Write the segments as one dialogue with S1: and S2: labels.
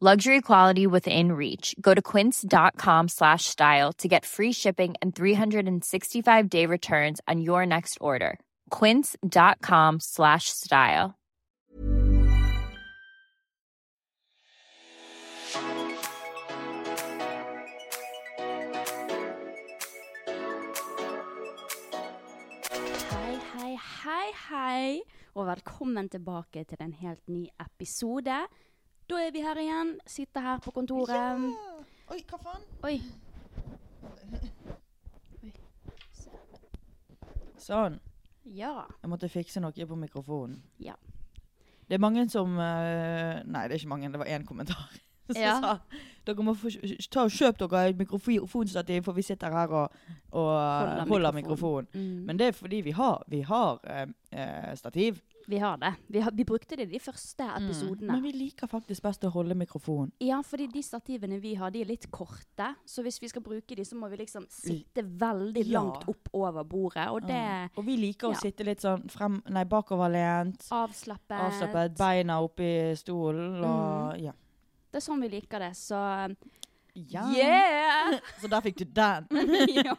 S1: Luxury quality within reach. Go to quince.com slash style to get free shipping and 365 day returns on your next order. Quince.com slash style.
S2: Hei, hei, hei, hei, og velkommen tilbake til en helt ny episode. Da er vi her igjen, sitter her på kontoret.
S3: Oi, hva faen?
S2: Oi,
S3: Sånn.
S2: ja.
S3: Jeg måtte fikse noe på mikrofonen.
S2: Ja.
S3: Det er mange som eh, Nei, det er ikke mange. Det var én kommentar. Som
S2: Ja.
S3: sa dere må få, ta og kjøp dere et mikrofonstativ, for vi sitter her og, og eh, holder, mikrofonen. mikrofon.
S2: Mm.
S3: Men det er fordi vi har, vi har eh, eh, stativ.
S2: Vi har det. Vi, har, vi brukte det de første episodene.
S3: Mm. Men vi liker faktisk best å holde mikrofonen.
S2: Ja, fordi de stativene vi har, de er litt korte. Så hvis vi skal bruke de, så må vi liksom sitte veldig
S3: Ja. Ah.
S2: langt opp over bordet, og det er
S3: Og vi liker
S2: Ja.
S3: å sitte litt sånn frem, nei, bakoverlent.
S2: avslappet.
S3: Avslappet, beina oppi stolen
S2: Mm.
S3: og ja.
S2: Det er sånn vi liker det, så
S3: ja.
S2: Yeah!
S3: Så der fikk du den.
S2: ja.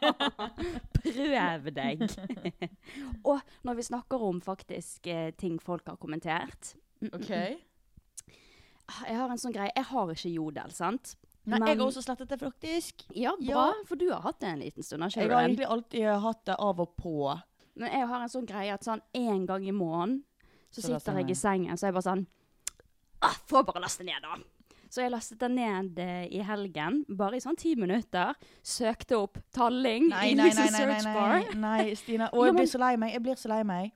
S2: Prøv deg. og når vi snakker om faktisk eh, ting folk har kommentert
S3: OK.
S2: Jeg har en sånn greie Jeg har ikke jodel, sant?
S3: Nei,
S2: Men-
S3: jeg har også slettet det, faktisk.
S2: Ja, bra,
S3: Ja.
S2: for du har hatt det en liten stund. har
S3: Jeg
S2: ikke
S3: har
S2: du det?
S3: egentlig alltid eh, hatt det av og på.
S2: Men jeg har en sånn greie at sånn en gang i måneden så,
S3: Så laster
S2: sitter jeg
S3: jeg
S2: i sengen, så er jeg bare sånn ah, Får bare laste ned, da. Så jeg lastet den ned eh, i helgen, bare i sånn ti minutter. Søkte opp talling i liksom search bar.
S3: Nei, Stina.
S2: Jo,
S3: Å, jeg
S2: men-
S3: blir så lei meg. Jeg blir så lei meg.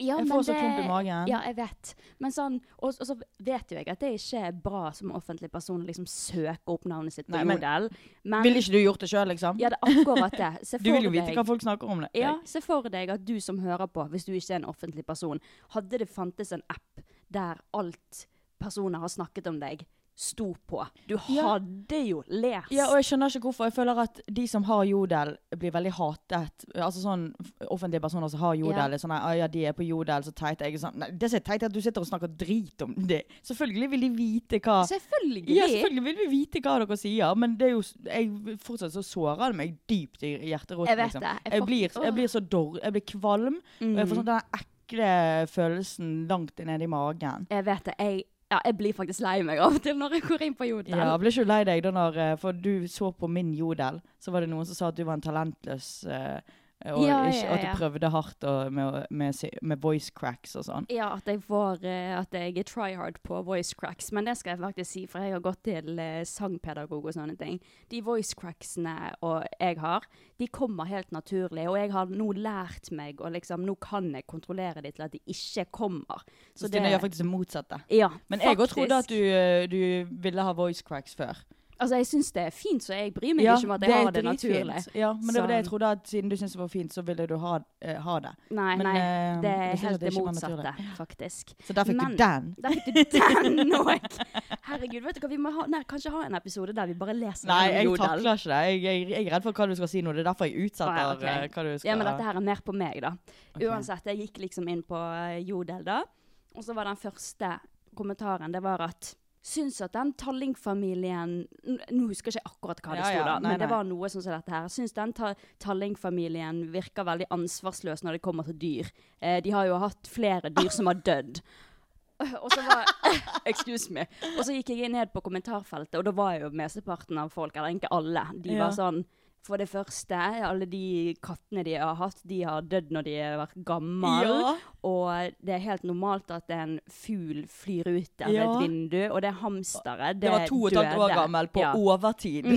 S2: Ja,
S3: Jeg
S2: men
S3: får så
S2: det-
S3: klump i magen.
S2: Ja, jeg vet. Men sånn, og, og så vet jo jeg at det ikke er bra som offentlig person å liksom søke opp navnet sitt på
S3: Nei, men-
S2: Jodel. Men
S3: Ville ikke du gjort det sjøl, liksom?
S2: ja, det er akkurat det. Se
S3: Du
S2: for
S3: vil jo vite
S2: deg-
S3: hva folk snakker om. det.
S2: Ja, se for deg at du som hører på, hvis du ikke er en offentlig person, hadde det fantes en app der alt personer har snakket om deg, sto på. Du
S3: Ja.
S2: hadde jo lest.
S3: Ja, og jeg skjønner ikke hvorfor. Jeg føler at de som har jodel, blir veldig hatet. Altså sånn f- offentlige personer som har jodel,
S2: Ja.
S3: er sånn «Ah, ja, de er på jodel, så teite. Jeg er sånn Nei, det som er teit, er at du sitter og snakker drit om det. Selvfølgelig vil de vite hva
S2: Selvfølgelig.
S3: Ja, selvfølgelig vil vi vite hva dere sier, men det er jo, jeg fortsatt så sårer det meg dypt i hjerteroten.
S2: Jeg vet
S3: liksom.
S2: det. Jeg Mm.
S3: Jeg,
S2: får-
S3: blir, jeg blir så dårlig, jeg blir kvalm, og jeg får sånn den ekle følelsen langt ned i magen.
S2: Jeg vet det. Jeg, ja, jeg blir faktisk lei meg av og til når jeg går inn på Jodel.
S3: Ja, Blir ikke du lei deg da når eh, For du så på min jodel, så var det noen som sa at du var en talentløs eh, og
S2: Ja,
S3: ikke,
S2: ja,
S3: at
S2: ja.
S3: du prøvde hardt og, med, å- med, si- med voice cracks og sånn.
S2: Ja, at jeg, får, eh, at jeg er try hard på voice cracks, men det skal jeg faktisk si, for jeg har gått til eh, sangpedagog og sånne ting. De voice cracksene og jeg har, de kommer helt naturlig, og jeg har nå lært meg, og liksom, nå kan jeg kontrollere de til at de ikke kommer.
S3: Så, Stine gjør faktisk det motsatte.
S2: Ja,
S3: Men jeg òg
S2: faktisk.
S3: trodde at du, eh, du ville ha voice cracks før.
S2: Altså, jeg syns det er fint, så jeg bryr meg
S3: Ja,
S2: ikke om at jeg
S3: er
S2: har det
S3: dritfint.
S2: naturlig.
S3: Ja, men det var det jeg
S2: Sånn.
S3: trodde, at siden du syntes det var fint, så ville du ha, eh, ha det.
S2: Nei,
S3: Men,
S2: nei.
S3: eh,
S2: Det
S3: jeg
S2: er
S3: synes at
S2: helt det
S3: ikke var naturlig.
S2: motsatte, faktisk.
S3: Så der fikk
S2: Men-
S3: du den.
S2: Der fikk du den òg! Herregud, vet du hva, vi må ha, nei, kanskje ha en episode der vi bare leser
S3: Nei,
S2: gjennom
S3: jeg
S2: Jodel.
S3: takler ikke det. Jeg, jeg, jeg er redd for hva du skal si nå. Det er derfor jeg utsetter
S2: Ah, ja, ok.
S3: eh, hva du skal
S2: Ja, men dette her er mer på meg, da.
S3: Ok.
S2: Uansett, jeg gikk liksom inn på eh, Jodel da, og så var den første kommentaren, det var at Syns at den Talling-familien n- Nå husker jeg ikke akkurat hva det
S3: Ja,
S2: sto,
S3: ja,
S2: da,
S3: nei,
S2: men det
S3: nei.
S2: var noe sånn som dette her. Syns den ta Talling-familien virker veldig ansvarsløs når det kommer til dyr. Eh, de har jo hatt flere dyr som har dødd. Og så var Excuse me. Og så gikk jeg ned på kommentarfeltet, og da var jo mesteparten av folk, eller ikke alle, de
S3: Ja.
S2: var sånn For det første, alle de kattene de har hatt, de har dødd når de har vært gammel.
S3: Ja.
S2: Og det er helt normalt at en fugl flyr ut av
S3: Ja.
S2: et vindu, og det hamsteret, det
S3: Det var to og et halvt år
S2: døde.
S3: gammel på
S2: Ja.
S3: overtid,
S2: Mm.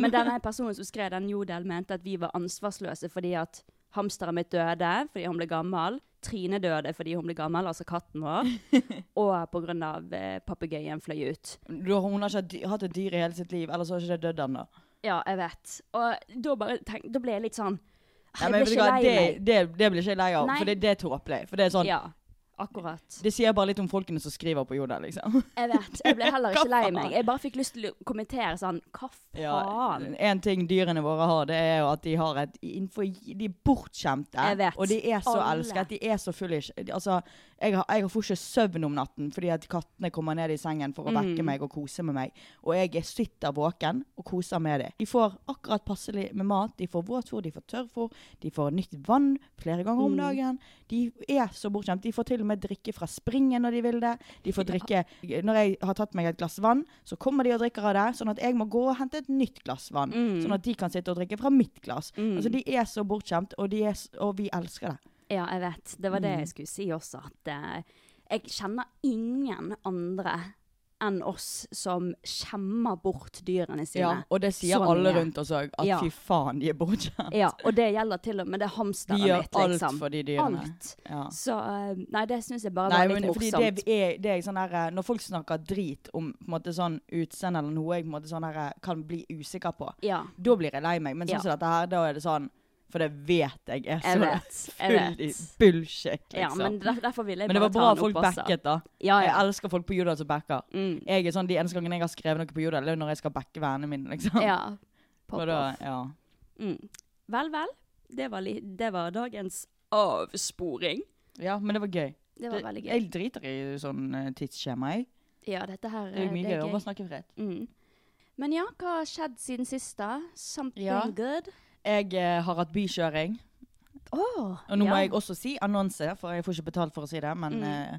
S2: Men denne personen som skrev den jodel, mente at vi var ansvarsløse fordi at hamsteren mitt døde fordi hun ble gammel. Trine døde fordi hun ble gammel, altså katten vår. Og pga. Eh, papegøyen fløy ut.
S3: Du, hun har ikke hatt dy- hatt et dyr i hele sitt liv, ellers har ikke det dødd ennå.
S2: Ja, jeg vet. Og da, bare tenk, da ble jeg litt sånn
S3: Nei,
S2: Jeg
S3: men
S2: ble
S3: vet du
S2: ikke
S3: hva,
S2: lei
S3: Det,
S2: meg.
S3: det, det blir ikke jeg lei av,
S2: Nei.
S3: for det, det er tåpelig. For det er sånn
S2: Ja, akkurat.
S3: Det sier bare litt om folkene som skriver på jorda, liksom.
S2: Jeg vet. Jeg ble heller
S3: Hva
S2: ikke lei
S3: faen?
S2: meg. Jeg bare fikk lyst til å kommentere sånn Hva
S3: Ja, eh,
S2: faen?
S3: en ting dyrene våre har, det er jo at de har et innenfor, De er bortskjemte.
S2: Jeg vet.
S3: Og de er så
S2: Alle.
S3: elsket. De er så foolish. De- Altså, jeg, har, jeg får ikke søvn om natten fordi at kattene kommer ned i sengen for å vekke meg og kose med meg. Og jeg er- sitter våken og koser med dem. De får akkurat passelig med mat. De får våtfôr, de får tørrfôr, de får nytt vann flere ganger om dagen. De er så bortskjemt. De får til og med drikke fra springen når de vil det. De får drikke Når jeg har tatt meg et glass vann, så kommer de og drikker av det, sånn at jeg må gå og hente et nytt glass vann. Sånn at de kan sitte og drikke fra mitt glass. Altså, de er så bortskjemt, og, de er, s- og vi elsker det.
S2: Ja, jeg vet. Det var det
S3: Mm.
S2: jeg skulle si også, at eh, jeg kjenner ingen andre enn oss som skjemmer bort dyrene sine.
S3: Ja, og det sier
S2: så
S3: alle
S2: mye.
S3: rundt oss òg, at
S2: Ja.
S3: fy faen, de er bortskjemt.
S2: Ja, og det gjelder til og med det hamsteret
S3: De gjør
S2: mitt,
S3: alt
S2: liksom.
S3: for de dyrene.
S2: Alt.
S3: Ja.
S2: Så eh, Nei, det syns jeg bare
S3: Nei,
S2: var
S3: men
S2: litt
S3: fordi
S2: morsomt.
S3: det er, det er sånn der, eh, Når folk snakker drit om på en måte sånn utseende eller noe jeg på en måte sånn der, eh, kan bli usikker på,
S2: Ja.
S3: da blir jeg lei meg. Men sånn
S2: Ja.
S3: som dette her, da er det sånn For det vet jeg er
S2: Jeg
S3: så
S2: vet, jeg
S3: full i
S2: vet.
S3: bullshit, liksom.
S2: ja, men der, derfor ville jeg
S3: Men det var
S2: bare ta
S3: bra
S2: den
S3: folk
S2: opp også.
S3: backet, da.
S2: Ja, ja.
S3: Jeg elsker folk på Jodel som backer.
S2: Mm.
S3: Jeg er sånn, De eneste gangene jeg har skrevet noe på Jodel, det er når jeg skal backe vennene mine. liksom.
S2: Ja.
S3: Og
S2: Pop
S3: da,
S2: off.
S3: ja.
S2: Mm. Vel, vel. Det var, li det var dagens avsporing.
S3: ja, men det var gøy.
S2: Det var veldig gøy.
S3: Jeg driter i sånn eh, tidsskjema, jeg.
S2: Ja, dette her
S3: Det er mye
S2: Eh, det
S3: gøy
S2: er
S3: å
S2: gøy.
S3: bare snakke fritt.
S2: Mm. Men ja, hva har skjedd siden sist da? Something
S3: Ja.
S2: good?
S3: Jeg eh, har hatt bykjøring.
S2: Åh,
S3: Og
S2: ja.
S3: nå
S2: Mm.
S3: må jeg også si annonse, for jeg får ikke betalt for å si det, men eh,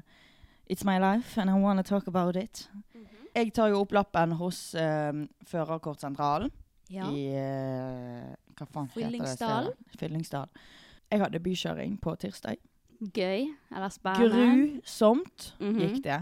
S3: It's my life, and I wanna talk about it.
S2: Mhm.
S3: Jeg tar jo opp lappen hos eh, Førerkortsentralen
S2: ja.
S3: i eh, Hva faen heter det
S2: Fyllingsdalen?
S3: stedet? Fyllingsdalen. Jeg hadde bykjøring på tirsdag.
S2: Gøy, eller spennende.
S3: Grusomt
S2: Ah, Mhm.
S3: gikk det.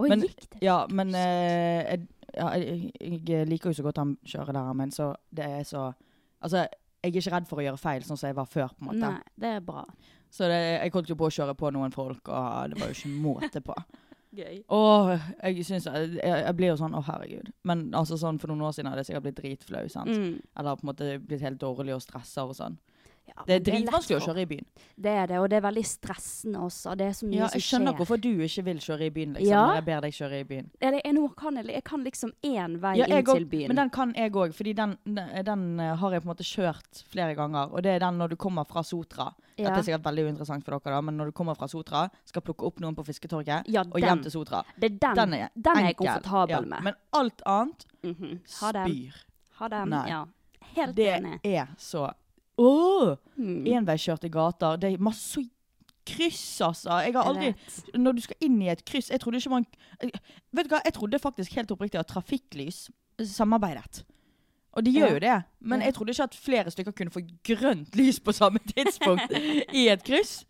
S2: Oi,
S3: Men-
S2: gikk det?
S3: Ja, men eh, jeg, ja, jeg, jeg liker jo så godt han kjører der, men så det er så Altså, jeg er ikke redd for å gjøre feil, sånn som jeg var før, på en måte.
S2: Nei, det er bra.
S3: Så det, jeg holdt jo på å kjøre på noen folk, og ah, det var jo ikke måte på.
S2: Gøy.
S3: Åh, jeg synes, jeg, jeg blir jo sånn, å herregud. Men altså sånn, for noen år siden hadde jeg sikkert blitt dritflau, sant?
S2: Mm.
S3: Eller på en måte blitt helt dårlig og stresset og sånn.
S2: Ja,
S3: Det
S2: men
S3: er
S2: lett
S3: dritvanskelig å
S2: for-
S3: kjøre i byen.
S2: Det er det, og det er veldig stressende også. Det er så mye
S3: Ja,
S2: som
S3: jeg skjønner
S2: skjer.
S3: hvorfor du ikke vil kjøre i byen, liksom,
S2: Ja.
S3: når jeg ber deg kjøre i byen.
S2: Eller, jeg, nå kan jeg, jeg kan liksom én vei
S3: Ja, jeg
S2: inn til
S3: og-
S2: byen.
S3: Men den kan jeg òg, fordi den, den, den eh, har jeg på en måte kjørt flere ganger. Og det er den når du kommer fra Sotra.
S2: Ja.
S3: Dette er sikkert veldig uinteressant for dere, da, men når du kommer fra Sotra, skal plukke opp noen på fisketorget,
S2: Ja,
S3: og hjem
S2: den.
S3: til Sotra.
S2: det er den,
S3: Den er,
S2: jeg
S3: enkel.
S2: komfortabel
S3: Ja,
S2: med.
S3: Men alt annet
S2: Mhm. Ha den.
S3: spyr.
S2: Ha den.
S3: Nei.
S2: Ja. Helt
S3: Det
S2: enig.
S3: er så Åh!
S2: Mm.
S3: Enveiskjørte gater. Det er masse kryss, altså. Jeg har aldri
S2: Jeg vet.
S3: Når du skal inn i et kryss Jeg trodde ikke man jeg- Vet du hva, jeg trodde faktisk helt oppriktig at trafikklys samarbeidet. Og de gjør
S2: Ja.
S3: jo det, men
S2: Ja.
S3: jeg trodde ikke at flere stykker kunne få grønt lys på samme tidspunkt i et kryss.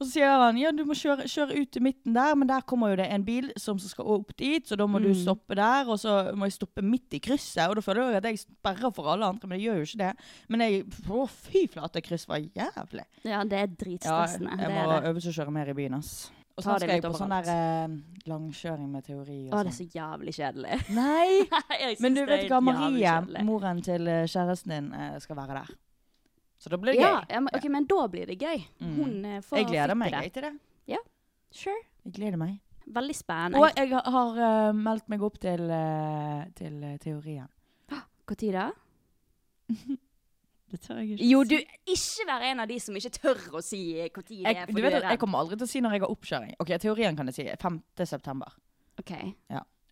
S3: Og så sier han ja, du må kjøre, kjøre ut til midten der, men der kommer jo det en bil som skal opp dit, så da må
S2: Mm.
S3: du stoppe der, og så må jeg stoppe midt i krysset. Og da føler jeg jo at jeg sperrer for alle andre, men jeg gjør jo ikke det. Men jeg Å, fy flate, kryss var jævlig.
S2: Ja, det er
S3: Ja,
S2: dritstressende.
S3: jeg
S2: det er
S3: må
S2: det.
S3: øvelseskjøre mer i byen, ass. Og
S2: Ta
S3: snart
S2: det
S3: skal jeg
S2: litt
S3: på sånn
S2: overalt.
S3: der eh, langkjøring med teori og
S2: Å, det er
S3: sånn.
S2: så jævlig kjedelig.
S3: Nei!
S2: Liksom. Jeg synes
S3: Men du
S2: det
S3: vet
S2: er jævlig
S3: hva, Marie,
S2: kjedelig.
S3: moren til eh, kjæresten din, eh, skal være der. Så da blir det
S2: ja,
S3: gøy.
S2: ja, men, ok, men da blir det gøy.
S3: Mm.
S2: Hun eh, får
S3: Jeg gleder
S2: fikk
S3: meg
S2: det.
S3: jeg, til det.
S2: Sure.
S3: Jeg gleder meg.
S2: Veldig spennende.
S3: Og jeg har- har eh, meldt meg opp til, eh, til eh, teorien.
S2: Når da?
S3: Det tør jeg
S2: Jo, du Ikke vær en av de som ikke tør å si når det er,
S3: Jeg,
S2: for
S3: du vet
S2: er
S3: at jeg
S2: redd.
S3: kommer aldri til å si når jeg har oppkjøring. Ok, Teorien kan jeg si. 5. september.
S2: OK.
S3: Jeg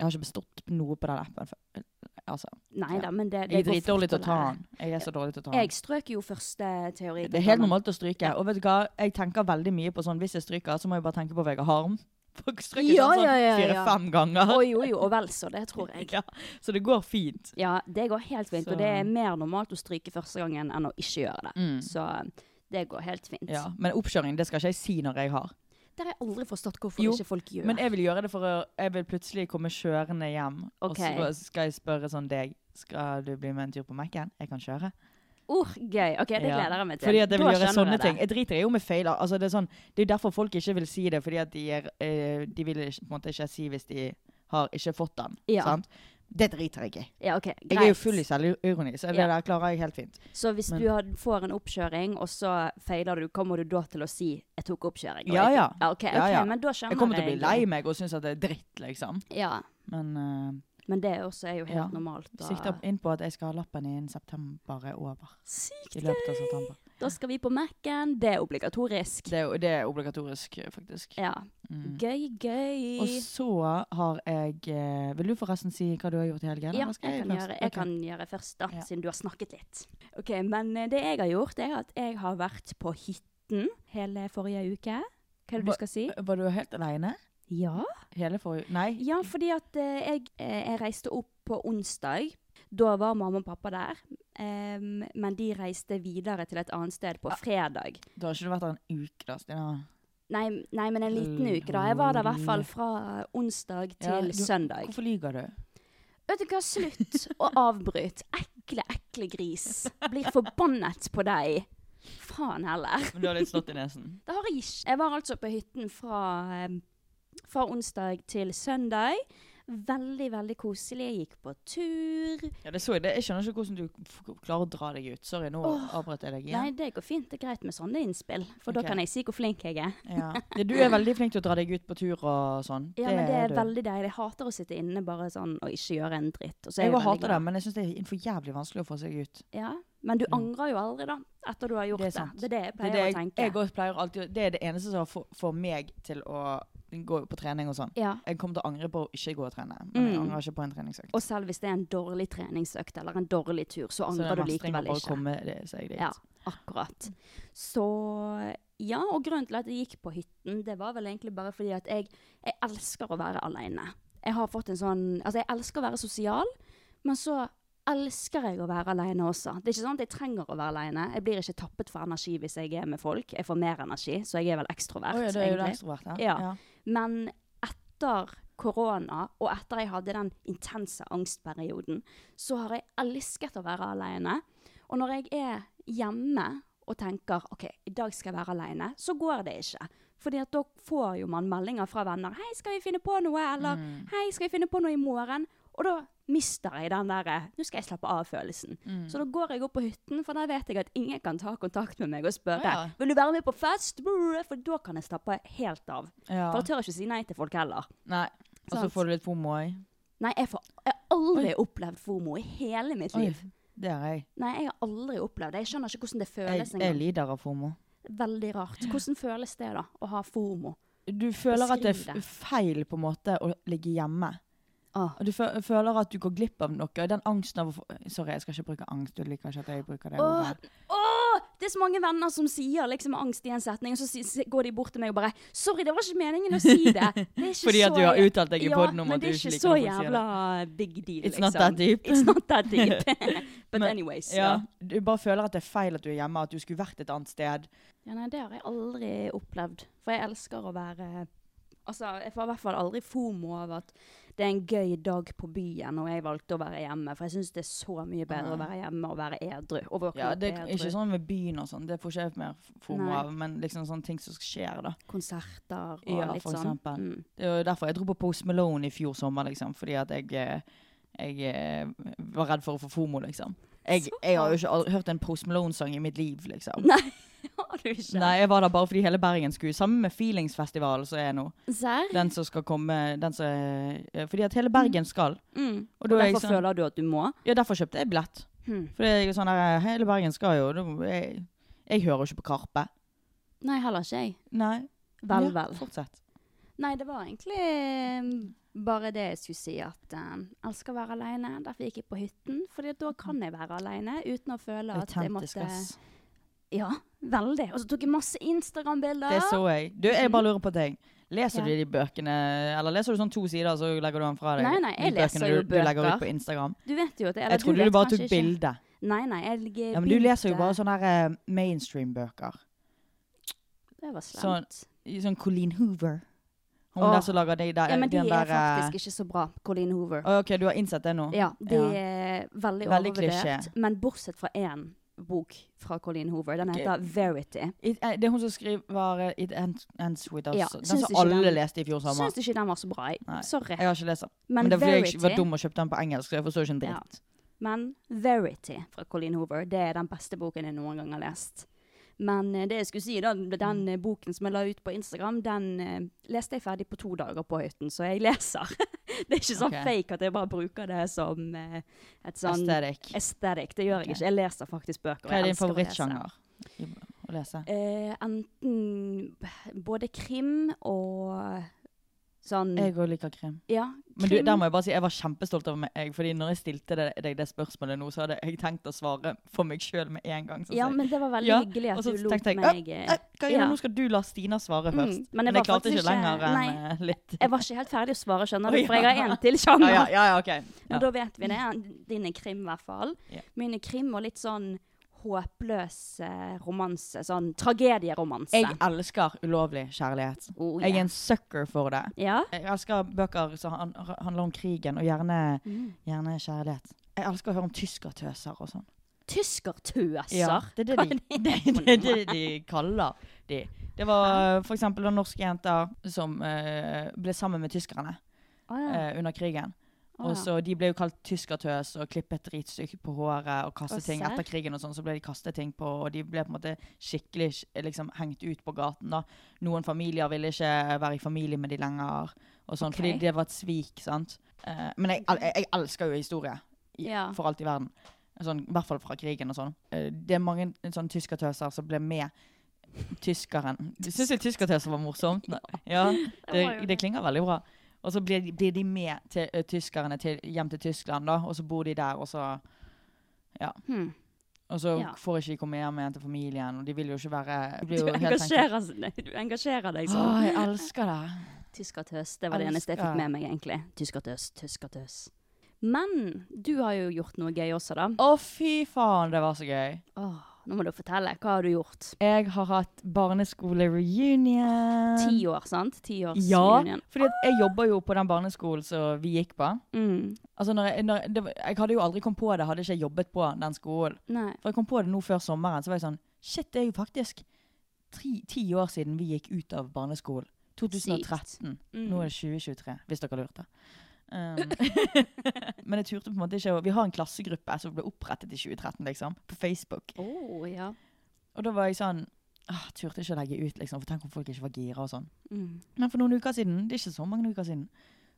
S3: har ikke bestått noe på den appen. før. Altså,
S2: Nei
S3: Ja.
S2: da, men det, det
S3: jeg er
S2: går fort
S3: dritdårlig til å ta
S2: lære.
S3: den. Jeg er så dårlig til å ta den.
S2: Jeg strøk jo første teori.
S3: Det er helt normalt å stryke. Og vet du hva, jeg tenker veldig mye på sånn Hvis jeg stryker, så må jeg bare tenke på Vegard Harm. Folk stryker
S2: Ja,
S3: sånn,
S2: ja, ja,
S3: sånn
S2: ja.
S3: fire-fem ganger.
S2: Å jo, jo, og vel så. Det tror jeg.
S3: Ja, så det går fint.
S2: Ja, det går helt fint.
S3: Så-
S2: Og det er mer normalt å stryke første gangen enn å ikke gjøre det.
S3: Mm.
S2: Så det går helt fint.
S3: Ja, men oppkjøring det skal ikke jeg si når jeg har.
S2: Det har jeg aldri forstått hvorfor
S3: Jo,
S2: ikke folk gjør.
S3: Men jeg vil gjøre det for å Jeg vil plutselig komme kjørende hjem,
S2: Ok.
S3: og så skal jeg spørre sånn deg Skal du bli med en tur på Mac-en? Jeg kan kjøre.
S2: oh, gøy. OK, det
S3: Ja.
S2: gleder jeg meg til.
S3: Fordi at jeg vil
S2: Da
S3: gjøre
S2: skjønner
S3: sånne
S2: jeg det.
S3: ting. Jeg driter jo om jeg feiler. Altså, det, er sånn, det er derfor folk ikke vil si det, fordi at de, er, eh, de vil ikke- på en måte ikke si hvis de har ikke fått den.
S2: Ja.
S3: Sant? Det driter jeg i.
S2: Ja, ok,
S3: Jeg er jo
S2: greit.
S3: full i selvironi, så det
S2: Ja.
S3: der klarer jeg helt fint.
S2: Så hvis
S3: men-
S2: du har, får en oppkjøring, og så feiler du, kommer du da til å si 'jeg tok oppkjøring'? og
S3: Ja,
S2: jeg-
S3: ja.
S2: ja, ok,
S3: Ja,
S2: ok,
S3: ja.
S2: Men da skjønner
S3: Jeg kommer til å bli lei
S2: egentlig.
S3: meg og synes at det er dritt, liksom.
S2: Ja,
S3: Men eh,
S2: men det er også er jo helt
S3: Ja.
S2: normalt. Da.
S3: sikter inn på at jeg skal ha lappen innen september er over.
S2: Sykt
S3: I løpet av
S2: gøy!
S3: september.
S2: Da skal vi på Mac-en. Det er obligatorisk.
S3: Det er, jo- det er obligatorisk, faktisk.
S2: Ja.
S3: Mm.
S2: Gøy, gøy.
S3: Og så har jeg eh, Vil du forresten si hva du har gjort i helgen?
S2: Ja,
S3: eller
S2: jeg
S3: skal
S2: kan,
S3: først?
S2: gjøre, jeg
S3: Ok.
S2: kan gjøre først, da,
S3: Ja.
S2: siden du har snakket litt. Ok, Men eh, det jeg har gjort, er at jeg har vært på hytten hele forrige uke. Hva er det
S3: Hva-
S2: du skal si?
S3: Var du helt aleine?
S2: Ja,
S3: Hele forrige Nei.
S2: ja fordi at eh, jeg, eh, jeg reiste opp på onsdag. Da var mamma og pappa der. Em, men de reiste videre til et annet sted på fredag.
S3: Da har ikke du vært der en uke, da, Stina.
S2: Nei, nei, men en liten uke, da. Jeg var der i hvert fall fra onsdag
S3: Ja,
S2: til
S3: du-
S2: søndag.
S3: Hvorfor lyver du?
S2: Vet du hva, slutt å avbryte. Ekle, ekle gris. Blir forbannet på deg. Faen heller.
S3: Men du har litt slått i nesen.
S2: Det har jeg ikke. Jeg var altså på hytten fra, eh, fra onsdag til søndag. Veldig, veldig koselig. Jeg gikk på tur.
S3: Ja, det så jeg. Det, jeg skjønner ikke hvordan du f- klarer å dra deg ut. Sorry, nå
S2: Åh.
S3: avbrøt jeg deg
S2: Nei,
S3: igjen.
S2: det går fint. Det er greit med sånne innspill, for
S3: Ok.
S2: da kan jeg si hvor flink jeg er.
S3: Ja. Ja, du er veldig flink til å dra deg ut på tur og sånn.
S2: Ja, men det er
S3: du.
S2: veldig deilig. Jeg hater å sitte inne bare sånn og ikke gjøre en dritt. Og så er
S3: Jeg
S2: jeg
S3: òg
S2: veldig
S3: hater det,
S2: glad.
S3: men jeg syns det er for jævlig vanskelig å få seg ut.
S2: Ja, men du angrer jo aldri, da, etter du har gjort Mm.
S3: Det er
S2: det.
S3: sant.
S2: Det er det jeg
S3: Det
S2: pleier
S3: er det
S2: å
S3: jeg,
S2: tenke.
S3: jeg også pleier alltid Det er det eneste som får- får meg til å gå på trening og sånn.
S2: ja.
S3: Jeg kommer til å angre på å ikke gå og trene, men jeg
S2: Mm.
S3: angrer ikke på en treningsøkt.
S2: Og selv hvis det er en dårlig treningsøkt eller en dårlig tur, så
S3: Så det
S2: angrer
S3: er
S2: du
S3: mestring å
S2: likevel
S3: bare
S2: ikke.
S3: komme det- seg dit.
S2: Ja, akkurat. Så ja, og grunnen til at jeg gikk på hytten, det var vel egentlig bare fordi at jeg, jeg elsker å være alene. Jeg har fått en sånn Altså, jeg elsker å være sosial, men så elsker jeg å være alene også. Det er ikke sånn at jeg trenger å være alene. Jeg blir ikke tappet for energi hvis jeg er med folk. Jeg får mer energi, så jeg er vel ekstrovert,
S3: Å ja, det er jo det ekstroverte.
S2: Ja. Men etter korona, og etter jeg hadde den intense angstperioden, så har jeg elsket å være alene. Og når jeg er hjemme og tenker ok, i dag skal jeg være alene, så går det ikke. Fordi at da får jo man meldinger fra venner. 'Hei, skal vi finne på noe?' eller 'Hei, skal vi finne på noe i morgen?' Og da mister jeg den derre 'nå skal jeg slappe av'-følelsen. Så da går jeg opp på hytten, for der vet jeg at ingen kan ta kontakt med meg og spørre
S3: Ja, ja.
S2: 'vil du være med på fest?' For da kan jeg slappe helt av.
S3: Ja.
S2: For jeg tør ikke si nei til folk heller.
S3: Nei. Og så
S2: Sant.
S3: får du litt fomo òg.
S2: Nei, jeg, får, jeg har aldri opplevd FOMO i hele mitt liv.
S3: Det har jeg.
S2: Nei, jeg har aldri opplevd det. Jeg skjønner ikke hvordan det
S3: jeg.
S2: føles
S3: Jeg
S2: engang.
S3: lider av fomo.
S2: Veldig rart. Hvordan føles det da, å ha FOMO?
S3: Du føler at det
S2: Beskriv
S3: er
S2: det.
S3: f- feil på en måte å ligge hjemme.
S2: Åh.
S3: Og Du fø- føler at du går glipp av noe. Den angsten av å få Sorry, jeg skal ikke bruke angst. Du liker ikke at jeg bruker det
S2: Åh,
S3: ordet.
S2: åh, det er så mange venner som sier liksom angst i en setning, og så si, si- går de bort til meg og bare 'Sorry, det var ikke meningen å si det'. det er ikke
S3: Fordi at
S2: så
S3: du har
S2: jæ-
S3: uttalt deg i podden om
S2: men
S3: at
S2: det er
S3: du
S2: ikke
S3: ikke liker
S2: så
S3: når folk sier det.
S2: jævla big deal,
S3: It's
S2: liksom.
S3: not that deep.
S2: It's not that deep. But
S3: Men-
S2: anyways.
S3: Ja, du bare føler at det er feil at du er hjemme, at du skulle vært et annet sted.
S2: Ja, nei, det har jeg aldri opplevd. For jeg elsker å være Altså, jeg får i hvert fall aldri fomo av at det er en gøy dag på byen, og jeg valgte å være hjemme. For jeg syns det er så mye bedre å være hjemme og være edru. Og våkne
S3: Ja,
S2: opp
S3: det er
S2: edru.
S3: ikke sånn ved byen og sånn, det får ikke jeg mer fomo
S2: Nei.
S3: av, men liksom sånne ting som skjer, da.
S2: Konserter og
S3: Ja,
S2: litt
S3: for
S2: sånn.
S3: eksempel.
S2: Mm.
S3: Det er jo derfor jeg dro på Post Malone i fjor sommer, liksom, fordi at jeg, eh, jeg eh, var redd for å få fomo, liksom. Jeg, jeg har jo ikke aldri hørt en Post Malone-sang i mitt liv, liksom.
S2: Nei, har du ikke?
S3: Nei, jeg var der bare fordi hele Bergen skulle. Sammen med Feelingsfestivalen som er nå.
S2: Serr?
S3: Den som skal komme den som, er- Fordi at hele Bergen skal.
S2: Mm.
S3: Og
S2: Og
S3: da er jeg
S2: derfor
S3: sånn-
S2: føler du at du må?
S3: Ja, derfor kjøpte jeg billett.
S2: Hm.
S3: For det er jo sånn der, hele Bergen skal jo. da- Jeg, jeg hører jo ikke på Karpe.
S2: Nei, heller ikke jeg.
S3: Nei.
S2: Vel,
S3: Ja,
S2: vel.
S3: Fortsett.
S2: Nei, det var egentlig eh, bare det jeg skulle si, at eh, jeg skal være alene. Derfor gikk jeg på hytten, for da kan jeg være alene uten å føle at jeg
S3: Mm. Autentisk,
S2: måtte
S3: ass.
S2: Ja, veldig. Og så tok jeg masse Instagram-bilder.
S3: Det så jeg. Du, jeg bare lurer på en ting. Leser
S2: Mhm. Ja.
S3: du de bøkene, eller leser du sånn to sider, så legger du den fra deg?
S2: Nei, nei, jeg
S3: De bøkene
S2: leser jo
S3: du, du legger
S2: bøker.
S3: ut på Instagram.
S2: Du vet jo at eller
S3: Jeg trodde du
S2: vet
S3: bare
S2: kanskje
S3: tok
S2: ikke.
S3: bilde.
S2: Nei, nei. Jeg legger
S3: Ja, men du leser jo
S2: bilder.
S3: bare sånne her, eh, mainstream-bøker.
S2: Det var slemt.
S3: I Sånn Colleen Hoover. Hun
S2: Åh.
S3: der som lager de der
S2: Ja, men de
S3: den
S2: er
S3: der, eh,
S2: faktisk ikke så bra, Colleen Hoover.
S3: Å, OK, du har innsett det nå?
S2: Ja, de
S3: Ja.
S2: er veldig,
S3: Veldig
S2: overvurdert.
S3: klisjé.
S2: Men bortsett fra én bok fra Colleen Hoover. Den heter Verity.
S3: It, eh, det er hun som skriver eh, It Ends, ends With Us.
S2: Ja,
S3: den
S2: syns
S3: som
S2: ikke
S3: alle
S2: den-
S3: leste i fjor sommer.
S2: Syns ikke den var så bra. jeg.
S3: Nei.
S2: Sorry.
S3: Jeg har ikke lest den. Men,
S2: Men
S3: det er fordi jeg ikke var
S2: Verity
S3: dum og kjøpte den på engelsk. Så jeg forstår ikke en
S2: Ja.
S3: dritt.
S2: Men Verity fra Colleen Hoover, det er den beste boken jeg noen gang har lest. Men eh, det jeg skulle si, da, den
S3: Mm.
S2: eh, boken som jeg la ut på Instagram, den eh, leste jeg ferdig på to dager på hytten, så jeg leser. det er ikke sånn
S3: Ok.
S2: fake at jeg bare bruker det som eh, et sånn
S3: Aesthetic.
S2: aesthetic. Det gjør
S3: Ok.
S2: jeg ikke. Jeg leser faktisk bøker. og
S3: Hva
S2: jeg
S3: er din
S2: elsker å lese.
S3: favorittsjanger i- å lese?
S2: Eh, enten b- både krim og sånn
S3: Jeg òg liker krim.
S2: Ja,
S3: Men du,
S2: krim.
S3: der må jeg bare si, jeg var kjempestolt over meg. Fordi når jeg stilte det- deg det spørsmålet nå, så hadde jeg tenkt å svare for meg sjøl med en gang. så
S2: ja,
S3: sa jeg-
S2: men det var veldig
S3: Ja,
S2: hyggelig
S3: og
S2: at
S3: så
S2: du lot
S3: tenkte jeg,
S2: meg eh,
S3: «Æ, Hva gjør
S2: ja.
S3: du? Nå skal du la Stina svare
S2: Mm,
S3: først.
S2: men jeg
S3: jeg
S2: var
S3: klarte
S2: faktisk
S3: ikke lenger
S2: ikke-
S3: enn
S2: nei.
S3: eh, litt.
S2: Jeg var ikke helt ferdig å svare, skjønner
S3: Å,
S2: du,
S3: ja.
S2: for jeg har en til
S3: Ja,
S2: sjanger.
S3: ja, ja, ja, ok.
S2: Men
S3: Ja.
S2: da vet vi det. Din er krim, i hvert fall.
S3: Ja.
S2: Min er krim og litt sånn håpløs eh, romanse. Sånn tragedieromanse.
S3: Jeg elsker ulovlig kjærlighet.
S2: Oh,
S3: Jeg er
S2: ja.
S3: en sucker for det.
S2: ja.
S3: Jeg elsker bøker som han- handler om krigen, og gjerne, gjerne kjærlighet. Jeg elsker å høre om tyskertøser og sånn.
S2: Tyskertøser.
S3: Ja, det er det de, det, det, det, det de kaller de. Det var eh, for eksempel den norske jenta som eh, ble sammen med
S2: Å,
S3: tyskerne
S2: Ah, ja.
S3: eh, under krigen.
S2: Å, ja.
S3: Og så De ble jo kalt tyskertøs og klippet dritstygt på håret og kastet
S2: Å,
S3: ting
S2: serr.
S3: etter krigen. og sånn, Så ble de kastet ting på, og de ble på en måte skikkelig eh, liksom, hengt ut på gaten. da. Noen familier ville ikke være i familie med de lenger, og sånn,
S2: Ok.
S3: fordi det var et svik. sant? Eh, men jeg, jeg, jeg elsker jo historie, i,
S2: Ja.
S3: for alt i verden. Sånn, I hvert fall fra krigen og sånn. Eh, det er mange sånn, tyskertøser som ble med tyskeren. Du syns jo tyskertøser var morsomt? Nei. Ja,
S2: var jo
S3: det, det
S2: det.
S3: klinger veldig bra. Og så blir de, blir de med til, eh, tyskerne til, hjem til Tyskland, da, og så bor de der, og så
S2: Hmm.
S3: og så
S2: Ja.
S3: får ikke de komme hjem igjen til familien, og de vil jo ikke være de blir
S2: Du,
S3: jo helt
S2: engasjerer, du engasjerer deg
S3: tenkte,
S2: sånn.
S3: Åh, jeg elsker det.
S2: Tyskertøs. Det var det eneste jeg fikk
S3: Elsker.
S2: med meg, egentlig. Tyskertøs, tyskertøs. Men du har jo gjort noe gøy også, da.
S3: Å, fy faen, det var så gøy.
S2: Åh, nå må du fortelle. Hva har du gjort?
S3: Jeg har hatt barneskole-reunion.
S2: Ti år, sant? Tiårsunion.
S3: Eh, Ja, fordi at jeg jobber jo på den barneskolen som vi gikk på.
S2: Mm.
S3: Altså, når jeg, når, det, var- jeg hadde jo aldri kommet på det, hadde ikke jeg jobbet på den skolen.
S2: Nei.
S3: For jeg kom på det nå før sommeren, så var jeg sånn, shit, det er jo faktisk tri, ti år siden vi gikk ut av barneskolen. 2013.
S2: Mm.
S3: Nå er det 2023, hvis dere lurte. Um, men jeg turte på en måte ikke å Vi har en klassegruppe som ble opprettet i 2013, liksom. På Facebook.
S2: Å, ja.
S3: Og da var jeg sånn ah, Turte ikke å legge ut, liksom. For tenk om folk ikke var gira og sånn.
S2: Mm.
S3: Men for noen uker siden, det er ikke så mange uker siden,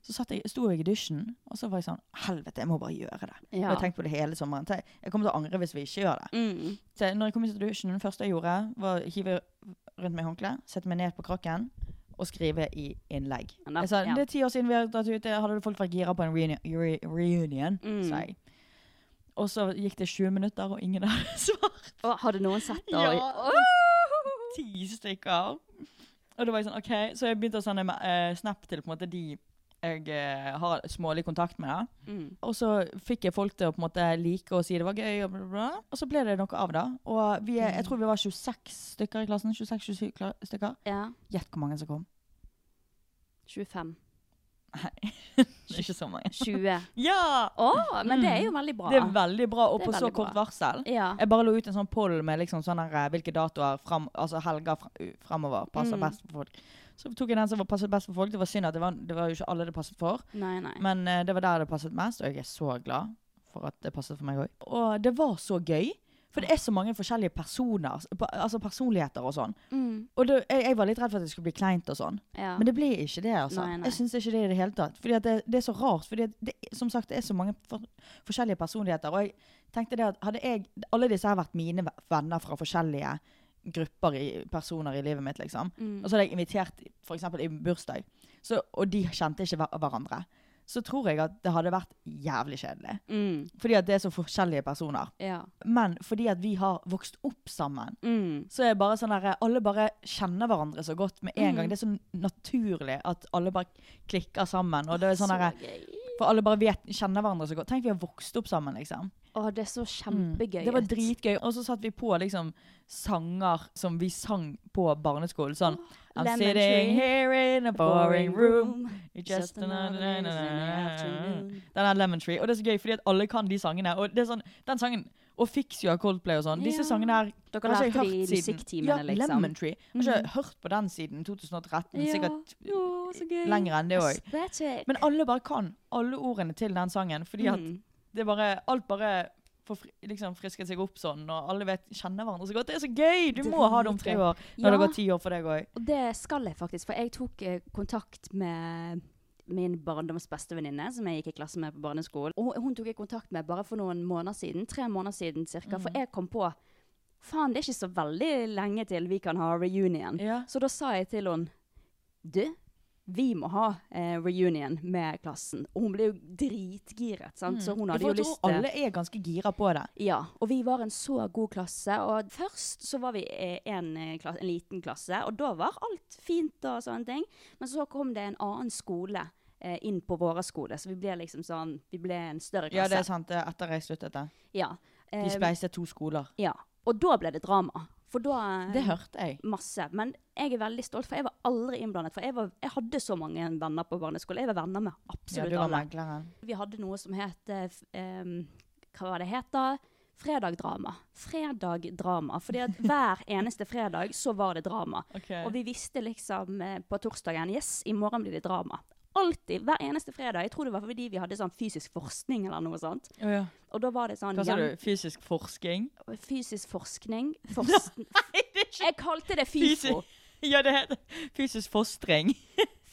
S3: så satt jeg, sto jeg i dusjen, og så var jeg sånn Helvete, jeg må bare gjøre det. Og Jeg
S2: ja.
S3: har tenkt på det hele sommeren. Tenk, Jeg kommer til å angre hvis vi ikke gjør det.
S2: Mm.
S3: Så når jeg kom ut av dusjen, det første jeg gjorde, var å hive rundt meg håndkleet, sette meg ned på krakken og skrive i innlegg.
S2: Ja,
S3: Jeg sa
S2: ja.
S3: det er ti år siden vi har dratt ut, hadde folk vært gira på en reunion, re reunion
S2: Mm.
S3: sa jeg. Og så gikk det 20 minutter, og ingen hadde svart.
S2: Å, har du noen sett det?
S3: Ja. Ti stykker. Og da var jeg sånn, ok, så jeg begynte å sende eh, snap til på en måte de jeg eh, har smålig kontakt med. Da.
S2: Mm.
S3: Og så fikk jeg folk til å på en måte like og si det var gøy, og bla, bla, bla. Og så ble det noe av det. Og vi er, jeg
S2: Mm.
S3: tror vi var 26 stykker i klassen. 26-27 kla- stykker.
S2: ja.
S3: Gjett hvor mange som kom.
S2: 25.
S3: Ikke så mange.
S2: 20.
S3: Ja!
S2: Å, men det er jo veldig bra.
S3: Mm. Det er veldig bra, og
S2: Det er
S3: på så
S2: veldig
S3: kort
S2: bra.
S3: varsel.
S2: ja.
S3: Jeg bare lå ut en sånn poll med liksom sånn her, eh, hvilke datoer fram, altså helger fra, u- framover passer
S2: Mm.
S3: best for folk. Så tok jeg den som var passet best for folk. Det var synd at det var, det var jo ikke alle det passet for.
S2: Nei, nei.
S3: Men eh, det var der det passet mest, og jeg er så glad for at det passet for meg òg. Og det var så gøy. For det er så mange forskjellige personer, pa- altså personligheter og sånn.
S2: Mm,
S3: Og det, jeg, jeg var litt redd for at det skulle bli kleint og sånn.
S2: ja.
S3: Men det ble ikke det, altså.
S2: Nei, nei.
S3: Jeg syns ikke det i det hele tatt. Fordi at det, det er så rart. Fordi at det, som sagt, det er så mange for, forskjellige personligheter. Og jeg tenkte det at hadde jeg Alle disse her vært mine ve- venner fra forskjellige grupper i personer i livet mitt, liksom.
S2: Mm.
S3: Og så hadde jeg invitert f.eks. i bursdag, så, og de kjente ikke hver- hverandre. Så tror jeg at det hadde vært jævlig kjedelig.
S2: mm,
S3: Fordi at det er så forskjellige personer.
S2: ja.
S3: Men fordi at vi har vokst opp sammen,
S2: Mm,
S3: så er det bare sånn der, alle bare kjenner hverandre så godt med en
S2: Mm.
S3: gang. Det er så naturlig at alle bare klikker sammen. Og det er sånn
S2: så
S3: der,
S2: gøy.
S3: for alle bare vet, kjenner hverandre så godt. Tenk vi har vokst opp sammen, liksom.
S2: Å, det er så kjempegøy.
S3: Det var
S2: ut.
S3: dritgøy. Og så satt vi på liksom sanger som vi sang på barneskolen. Sånn I'm
S2: Lemon tree.
S3: sitting here in a boring room. Just another day in the afternoon.
S2: afternoon.
S3: Den er Lemon Tree. Og det er så gøy, fordi at alle kan de sangene. Og det er sånn, den sangen Og Fix You av Coldplay og sånn. Disse
S2: Ja.
S3: sangene her
S2: Dere
S3: har ikke
S2: lærte
S3: jeg
S2: de i
S3: hørt siden-
S2: musikktimene,
S3: ja,
S2: liksom.
S3: Lemon Tree. Jeg har ikke hørt på den siden 2013.
S2: Ja.
S3: Sikkert
S2: Å, så gøy.
S3: lenger enn det òg.
S2: That's it.
S3: Men alle bare kan alle ordene til den sangen, fordi at
S2: Mm.
S3: det bare Alt bare får fri- liksom frisket seg opp sånn, og alle vet, kjenner hverandre så godt. Det er så gøy! Du
S2: Det er
S3: må ha det om tre
S2: dritgøy.
S3: år, når det
S2: Ja.
S3: går ti år for deg òg.
S2: Og det skal jeg faktisk, for jeg tok eh, kontakt med min barndoms bestevenninne, som jeg gikk i klasse med på barneskolen. Og hun tok jeg kontakt med bare for noen måneder siden, tre måneder siden cirka, for
S3: Mm.
S2: jeg kom på, faen, det er ikke så veldig lenge til vi kan ha reunion.
S3: Ja.
S2: Så da sa jeg til hun, du, vi må ha eh, reunion med klassen. Og hun ble jo dritgiret, sant? Så hun
S3: Mm. Jeg
S2: hadde Sånn jo
S3: tror
S2: lyst til...
S3: alle er ganske gira på det.
S2: Ja, og vi var en så god klasse. Og først så var vi eh, en, eh, kla- en liten klasse, og da var alt fint og sånne ting. Men så kom det en annen skole eh, inn på vår skole, så vi ble liksom sånn Vi ble en større klasse.
S3: Ja, det er sant. det er Etter jeg sluttet det.
S2: Ja.
S3: De
S2: Altså. Eh,
S3: spleiset to skoler.
S2: ja. Og da ble det drama. For da eh,
S3: Det hørte jeg.
S2: Masse. Men jeg er veldig stolt, for jeg var aldri innblandet. For jeg, var, jeg hadde så mange venner på barneskolen. Jeg var venner med absolutt alle.
S3: megleren.
S2: Vi hadde noe som het eh, f- em, Hva var det het da? Fredagdrama. Fredagdrama. Fordi at hver eneste fredag så var det drama. Og vi visste liksom eh, på torsdagen Yes, i morgen blir det drama. Alltid. Hver eneste fredag. Jeg tror det var fordi vi hadde sånn fysisk forskning eller noe sånt. Og da var det sånn
S3: Hva sa du?
S2: gjen-
S3: Fysisk forsking?
S2: Fysisk forskning. Forsk... Jeg kalte det FIFO.
S3: Ja, det heter fysisk fostring.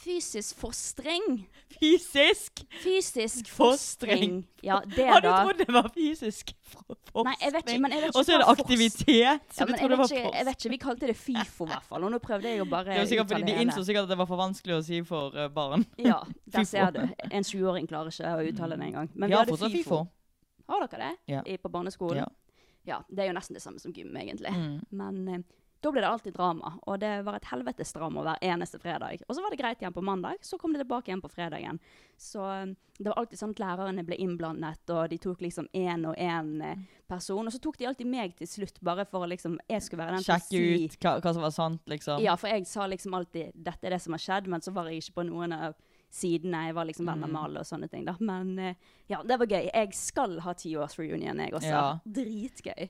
S2: Fysisk forstring.
S3: Fysisk!
S2: Fysisk
S3: Forstring.
S2: forstring. Ja, det
S3: Har du
S2: da.
S3: trodd det var fysisk for- forskning?
S2: Nei, jeg vet ikke, men jeg vet ikke
S3: Og så er det
S2: hva forsk-
S3: aktivitet, så
S2: Ja,
S3: du
S2: men jeg
S3: tror
S2: vet,
S3: det var
S2: ikke, jeg
S3: forskning.
S2: vet ikke, Vi kalte det FIFO i hvert fall. Og nå prøvde jeg å bare
S3: Det var sikkert
S2: uttale
S3: fordi de
S2: hele.
S3: innså sikkert at det var for vanskelig å si for eh, barn.
S2: Ja, der
S3: FIFO.
S2: ser du. En 20-åring klarer ikke å uttale det engang. Men
S3: Vi
S2: vi
S3: har
S2: hadde
S3: fortsatt
S2: FIFO.
S3: FIFO.
S2: Har dere det
S3: Ja.
S2: I, på barneskolen?
S3: Ja.
S2: Ja. Det er jo nesten det samme som gym, egentlig.
S3: Mm.
S2: Men eh, da ble det alltid drama. Og det var et helvetes drama hver eneste fredag. Og så var det greit igjen på mandag, så kom det tilbake igjen på fredagen. Så eh, det var alltid sånn at lærerne ble innblandet, og de tok liksom én og én eh, person. Og så tok de alltid meg til slutt, bare for å liksom Jeg skulle være den
S3: Sjekke
S2: si-
S3: ut hva, hva som var sant, liksom.
S2: Ja, for jeg sa liksom alltid 'dette er det som har skjedd', men så var jeg ikke på noen av sidene. Jeg var liksom
S3: Mm.
S2: venner med alle og sånne ting, da. Men eh, ja, det var gøy. Jeg skal ha tiårsreunion, jeg også.
S3: Ja.
S2: Dritgøy.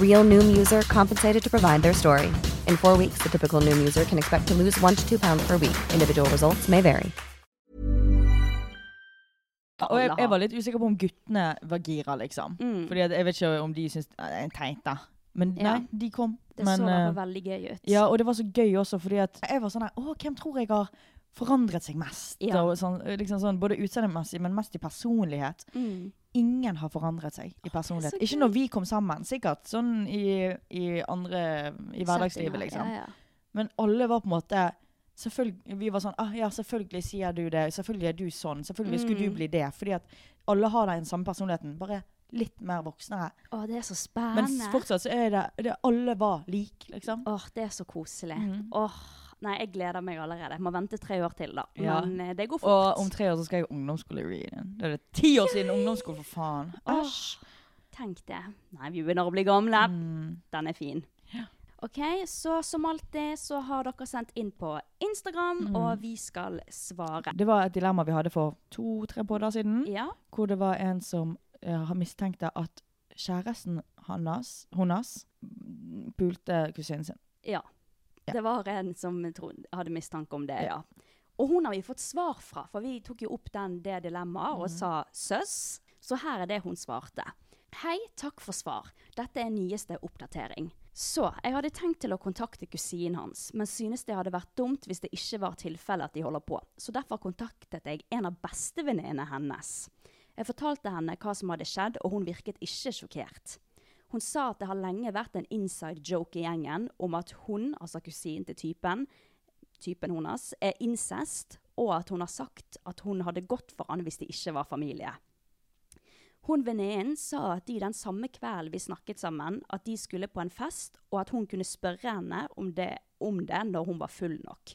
S4: Real Noom user compensated to provide their story. In four weeks, the typical Noom user can expect to lose one to two pounds per week. Individual results may vary.
S3: Ja, og jeg, jeg var litt usikker på om guttene var gira, liksom. Fordi at jeg vet ikke om de syns det er teit, da. Men nei,
S2: Mm. Ja.
S3: de kom.
S2: Det
S3: Men,
S2: så
S3: eh,
S2: derfor veldig gøy ut.
S3: Ja, og det var så gøy også, fordi at jeg var sånn her Å, hvem tror jeg har forandret seg mest?
S2: Ja.
S3: Og sånn, liksom sånn, både utseendemessig, men mest i personlighet.
S2: Mm.
S3: Ingen har forandret seg i personlighet.
S2: så
S3: Ikke når vi kom sammen, sikkert. Sånn i, i andre I hverdagslivet,
S2: Settinger,
S3: liksom.
S2: Ja, ja.
S3: Men alle var på en måte selvfølgelig, Vi var sånn ah, Ja, selvfølgelig sier du det. Selvfølgelig er du sånn. Selvfølgelig skulle
S2: Mm.
S3: du bli det. Fordi at alle har den samme personligheten, bare litt mer voksnere.
S2: Å, det er så
S3: Men
S2: spennende.
S3: fortsatt så er det, det Alle var like, liksom.
S2: Åh, det er så koselig.
S3: Mhm.
S2: Åh, nei, jeg gleder meg allerede. Må vente tre år til, da.
S3: Ja.
S2: Men eh, det går fort.
S3: Og om tre år så skal jeg i ungdomsskole-reading. Da er det ti år siden ungdomsskole, for faen!
S2: Åh,
S3: Æsj.
S2: tenk det. Nei, vi begynner å bli gamle.
S3: Mm.
S2: Den er fin. OK, så som alltid så har dere sendt inn på Instagram, og vi skal svare.
S3: Det var et dilemma vi hadde for to-tre podder siden,
S2: Ja.
S3: hvor det var en som eh, har mistenkt at kjæresten hans, hennes pulte kusinen sin.
S2: ja.
S3: Ja.
S2: Det var en som tro- hadde mistanke om det, ja. Og hun har vi fått svar fra, for vi tok jo opp den, det dilemmaet og sa søs. Så her er det hun svarte. Hei, takk for svar. Dette er nyeste oppdatering. Så, jeg hadde tenkt til å kontakte kusinen hans, men synes det hadde vært dumt hvis det ikke var tilfelle at de holder på. Så derfor kontaktet jeg en av bestevenninnene hennes. Jeg fortalte henne hva som hadde skjedd, og hun virket ikke sjokkert. Hun sa at det har lenge vært en inside joke i gjengen om at hun, altså kusinen til typen, typen hennes, er incest, og at hun har sagt at hun hadde gått for han hvis de ikke var familie. Hun venninnen sa at de den samme kvelden vi snakket sammen, at de skulle på en fest, og at hun kunne spørre henne om det, om det når hun var full nok.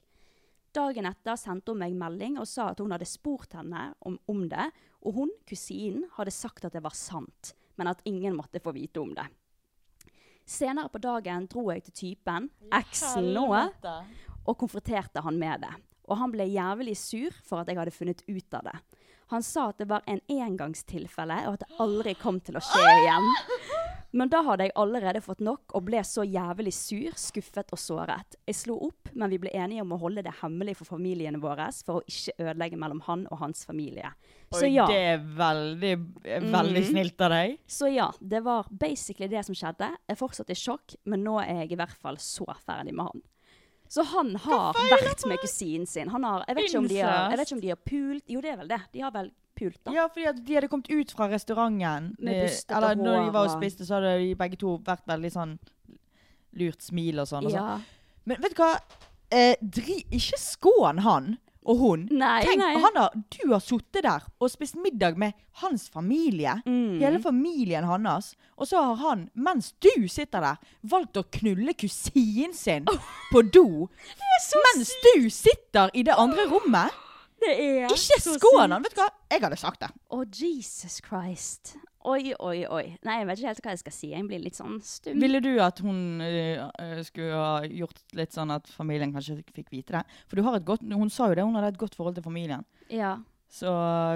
S2: Dagen etter sendte hun meg melding og sa at hun hadde spurt henne om, om det, og hun, kusinen, hadde sagt at det var sant, men at ingen måtte få vite om det. Senere på dagen dro jeg til typen, eksen nå, og konfronterte han med det. Og han ble jævlig sur for at jeg hadde funnet ut av det. Han sa at det var en engangstilfelle, og at det aldri kom til å skje igjen. Men da hadde jeg allerede fått nok og ble så jævlig sur, skuffet og såret. Jeg slo opp, men vi ble enige om å holde det hemmelig for familiene våre for å ikke ødelegge mellom han og hans familie. Så
S3: Oi,
S2: ja,
S3: Det er veldig, eh, veldig snilt av deg.
S2: så ja, det var basically det som skjedde. Jeg er fortsatt i sjokk, men nå er jeg i hvert fall så ferdig med han. Så han har vært med kusinen sin. Han har, jeg, vet ikke om de har, jeg vet ikke om de har pult Jo, det er vel det. De har vel pult, da.
S3: Ja, fordi at de hadde kommet ut fra restauranten.
S2: Med
S3: eh,
S2: bustete
S3: Eller når de var og
S2: hår og-
S3: spiste, så hadde de begge to vært veldig sånn lurt smil og sånn. Og sånn.
S2: Ja.
S3: Men vet du hva? Eh, dri, ikke skån han og hun.
S2: Nei,
S3: Tenk,
S2: nei.
S3: Han har, du har sittet der og spist middag med hans familie.
S2: Mm.
S3: Hele familien hans. Og så har han, mens du sitter der, valgt å knulle kusinen sin på do. Mens du sitter i det andre rommet.
S2: Det er
S3: Ikke skån han! Vet du hva? Jeg hadde sagt det.
S2: Å, Jesus Christ. Å, Oi, oi, oi. Nei, jeg vet ikke helt hva jeg skal si. Jeg blir litt sånn stum.
S3: Ville du at hun eh, eh, skulle ha gjort litt sånn at familien kanskje ikke fikk vite det? For du har et godt, hun sa jo det, hun hadde et godt forhold til familien.
S2: Ja.
S3: Så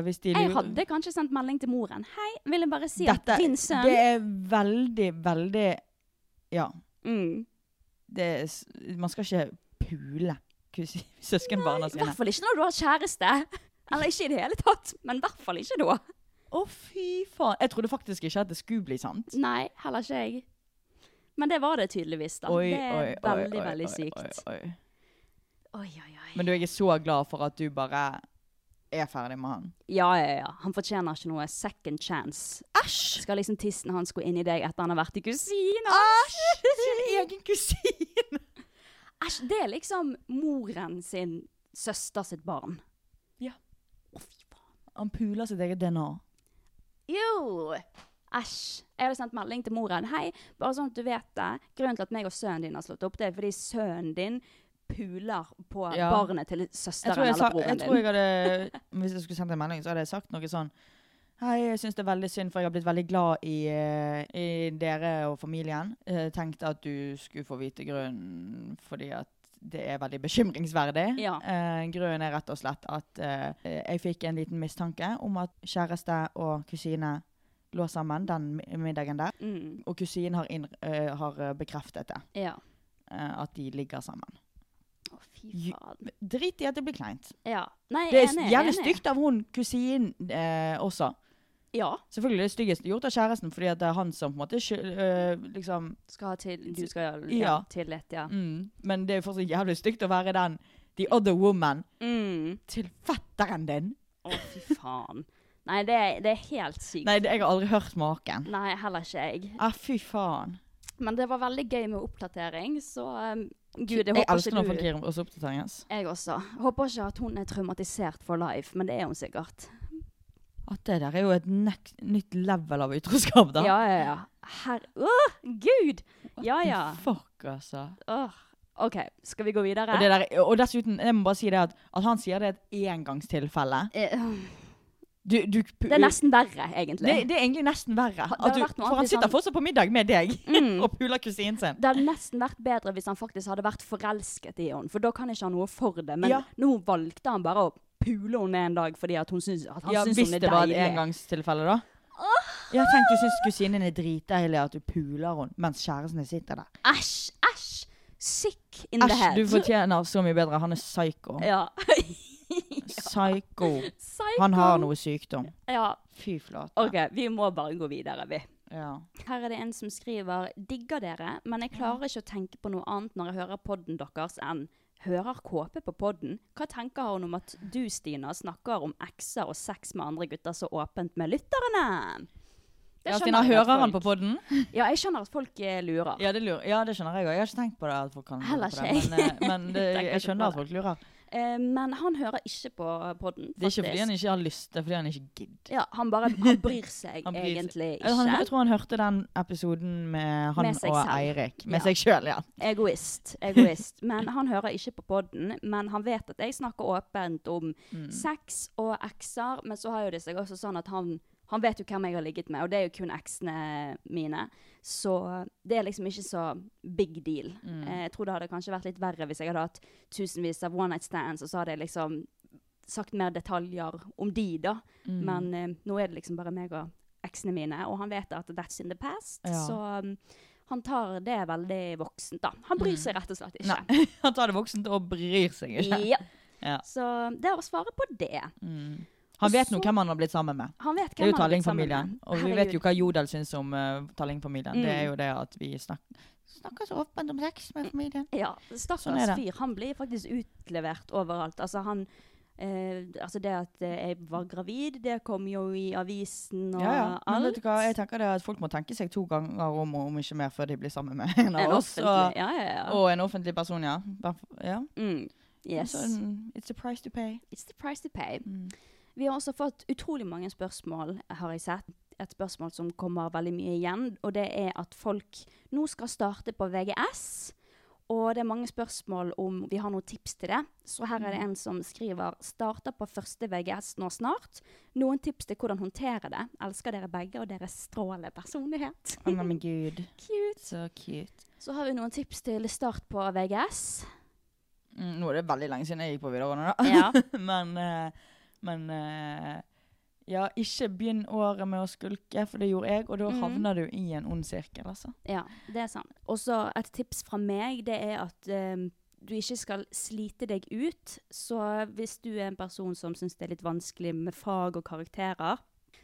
S3: hvis de
S2: Jeg
S3: lurer-
S2: hadde kanskje sendt melding til moren. Hei, vil jeg bare si
S3: Dette,
S2: at din sønn
S3: Det er veldig, veldig Ja.
S2: mm.
S3: Det er, s- man skal ikke pule kusi- søskenbarna
S2: I
S3: sine.
S2: hvert fall ikke når du har kjæreste. Eller ikke i det hele tatt, men i hvert fall ikke da.
S3: Å, fy faen! Jeg trodde faktisk ikke at det skulle bli sant.
S2: Nei, heller ikke jeg. Men det var det tydeligvis, da.
S3: Oi,
S2: det er
S3: oi, oi,
S2: veldig,
S3: oi,
S2: veldig
S3: oi,
S2: sykt.
S3: Oi, oi.
S2: Oi, oi, oi.
S3: Men du, jeg er så glad for at du bare er ferdig med han.
S2: Ja, ja, ja. Han fortjener ikke noe second chance. Æsj! Skal liksom tissen hans gå inn i deg etter han har vært i kusina?
S3: Æsj! Sin egen kusin!
S2: Æsj! Det er liksom moren sin søster sitt barn.
S3: Ja.
S2: Å, fy faen.
S3: Han puler sitt eget DNA.
S2: Jo! Æsj. Jeg hadde sendt melding til moren. Hei, bare sånn at du vet det. Grunnen til at meg og sønnen din har slått opp, det er fordi sønnen din puler på
S3: Ja.
S2: barnet til
S3: Jeg
S2: søsteren
S3: tror jeg, sa,
S2: eller broren
S3: jeg
S2: din.
S3: tror jeg hadde Hvis jeg skulle sendt en melding, så hadde jeg sagt noe sånn Hei, jeg syns det er veldig synd, for jeg har blitt veldig glad i, eh, i dere og familien. Jeg tenkte at du skulle få vite grunnen, fordi at det er veldig bekymringsverdig.
S2: Ja.
S3: Eh, grunnen er rett og slett at eh, jeg fikk en liten mistanke om at kjæreste og kusine lå sammen den mi- middagen der.
S2: Mm,
S3: Og kusinen har, inn, eh, har bekreftet det,
S2: ja.
S3: eh, at de ligger sammen.
S2: Å, fy
S3: Ju-
S2: faen.
S3: Drit i at det blir kleint.
S2: Ja. Nei,
S3: Det er
S2: enig,
S3: jævlig
S2: enig.
S3: stygt av hun kusinen eh, også.
S2: Ja.
S3: Selvfølgelig er det styggest gjort av kjæresten, fordi at det er han som på en måte skyld- eh, liksom,
S2: Skal ha til, du skal ha ja,
S3: Ja.
S2: tillit, ja.
S3: mm, Men det er jo fortsatt jævlig stygt å være den the other woman
S2: Mm.
S3: til fetteren din.
S2: Å, fy faen. Nei, det, er- det er helt sykt.
S3: Nei, det, jeg har aldri hørt maken.
S2: Nei, heller ikke jeg.
S3: Ah, fy faen.
S2: Men det var veldig gøy med oppdatering, så um, gud, jeg
S3: Jeg
S2: håper
S3: elsker når
S2: ikke
S3: folk
S2: du
S3: gir oss oppdatering. ass.
S2: Jeg også. Håper ikke at hun er traumatisert for life, men det er hun sikkert.
S3: At det der er jo et nek- nytt level av utroskap, da.
S2: Ja, ja, ja. Her... Åh, gud! Ja,
S3: The
S2: ja.
S3: Fuck, altså.
S2: Åh. OK, skal vi gå videre?
S3: Og, det der, og dessuten, jeg må bare si det at, at han sier det er et engangstilfelle.
S2: Eh,
S3: Du, du,
S2: det er nesten verre, egentlig.
S3: Det, det er egentlig nesten verre.
S2: det
S3: At
S2: hadde
S3: du,
S2: vært noe
S3: for
S2: annet
S3: han
S2: hvis
S3: sitter
S2: han-
S3: fortsatt på middag med deg
S2: Mm.
S3: og puler kusinen sin.
S2: Det hadde nesten vært bedre hvis han faktisk hadde vært forelsket i henne, for da kan ikke han noe for det. Men
S3: Ja.
S2: nå valgte han bare å pule henne en dag fordi at, hun syns- at han
S3: Ja,
S2: syns
S3: hvis
S2: hun er
S3: det var et
S2: deilig.
S3: engangstilfelle, da. Jeg tenkte du syns kusinen er dritdeilig at du puler henne mens kjæresten din sitter der.
S2: Æsj, æsj! Sick in the
S3: Æsj,
S2: head.
S3: du fortjener så mye bedre. Han er psyko.
S2: Mm, Ja.
S3: Psyko.
S2: Psycho.
S3: Han har noe sykdom.
S2: Ja,
S3: Fy flate.
S2: OK, vi må bare gå videre, vi.
S3: Ja.
S2: Her er det en som skriver 'digger dere', men jeg klarer ikke å tenke på noe annet når jeg hører podden deres enn 'hører Kåpe på podden'? Hva tenker hun om at du, Stina, snakker om ekser og sex med andre gutter så åpent med lytterne? Det
S3: Ja,
S2: skjønner
S3: Stina,
S2: jeg at
S3: hører han på
S2: folk-
S3: podden?
S2: Ja, jeg skjønner at folk eh, lurer.
S3: Ja, det, lurer. ja, det skjønner jeg òg. Jeg har ikke tenkt på det. at folk kan lure
S2: Heller
S3: på
S2: ikke
S3: det, Men,
S2: jeg.
S3: eh, men det,
S2: Tenker
S3: jeg
S2: ikke
S3: skjønner
S2: på
S3: at folk lurer.
S2: Eh, men han hører ikke på podden, faktisk.
S3: Det er ikke fordi han ikke har lyst, det er fordi han ikke gidder.
S2: Ja, han bare han bryr seg
S3: Han blir-
S2: egentlig
S3: Jeg- Han, jeg
S2: ikke.
S3: tror han hørte den episoden med han
S2: Med seg
S3: og
S2: selv.
S3: Eirik. Med
S2: Ja.
S3: seg sjøl, ja.
S2: Egoist. egoist. Men han hører ikke på podden, men han vet at jeg snakker åpent om
S3: Mm,
S2: sex og ekser, men så har jo det seg også sånn at han, han vet jo hvem jeg har ligget med, og det er jo kun eksene mine. Så det er liksom ikke så big deal.
S3: mm,
S2: Eh, Jeg tror det hadde kanskje vært litt verre hvis jeg hadde hatt tusenvis av one night stands, og så hadde jeg liksom sagt mer detaljer om de da.
S3: mm.
S2: Men eh, nå er det liksom bare meg og eksene mine, og han vet at that's in the past,
S3: Ja.
S2: så um, han tar det veldig voksent da. Han bryr seg rett og slett ikke.
S3: Mm. Nei, han tar det voksent og bryr seg ikke.
S2: Ja.
S3: Ja.
S2: Så det var svaret på det.
S3: Han vet
S2: Og
S3: nå
S2: så-
S3: hvem han har blitt sammen med.
S2: Han vet
S3: Det er
S2: hvem
S3: jo
S2: han har blitt sammen
S3: Tallingfamilien.
S2: med.
S3: Og vi vet jo
S2: Herregud.
S3: hva Jodel syns om uh, Tallingfamilien. Det er
S2: Mm.
S3: jo det at vi snak snakker så åpent om sex med familien.
S2: Ja, stakkars
S3: Sånn er det.
S2: fyr. Han blir faktisk utlevert overalt. Altså han eh, altså det at eh, jeg var gravid, det kom jo i avisen og
S3: Ja, ja. Men vet
S2: alt.
S3: du hva? Jeg tenker det at folk må tenke seg to ganger om, og om ikke mer, før de blir sammen med en av
S2: En
S3: oss.
S2: Eh, offentlig,
S3: Og,
S2: ja, ja, ja.
S3: og en offentlig person, ja. Hvertfall- ja.
S2: mm. Yes.
S3: Så, mm, it's a price to pay.
S2: It's the price to pay.
S3: Mm.
S2: Vi har også fått utrolig mange spørsmål, har jeg sett. Et spørsmål som kommer veldig mye igjen, og det er at folk nå skal starte på VGS. Og det er mange spørsmål om vi har noen tips til det. Så her
S3: Mm.
S2: er det en som skriver starter på første VGS nå snart. Noen tips til hvordan håndtere det. Elsker dere begge og deres strålende personlighet.
S3: Å, nei, men gud.
S2: Cute.
S3: Så cute.
S2: Så har vi noen tips til start på VGS.
S3: Mm, nå er det veldig lenge siden jeg gikk på videregående, da.
S2: Ja.
S3: men eh, men eh, ja, ikke begynn året med å skulke, for det gjorde jeg. Og da
S2: Mhm.
S3: havner du i en ond sirkel, altså.
S2: Ja, det er sant. Og så et tips fra meg, det er at eh, du ikke skal slite deg ut. Så hvis du er en person som syns det er litt vanskelig med fag og karakterer,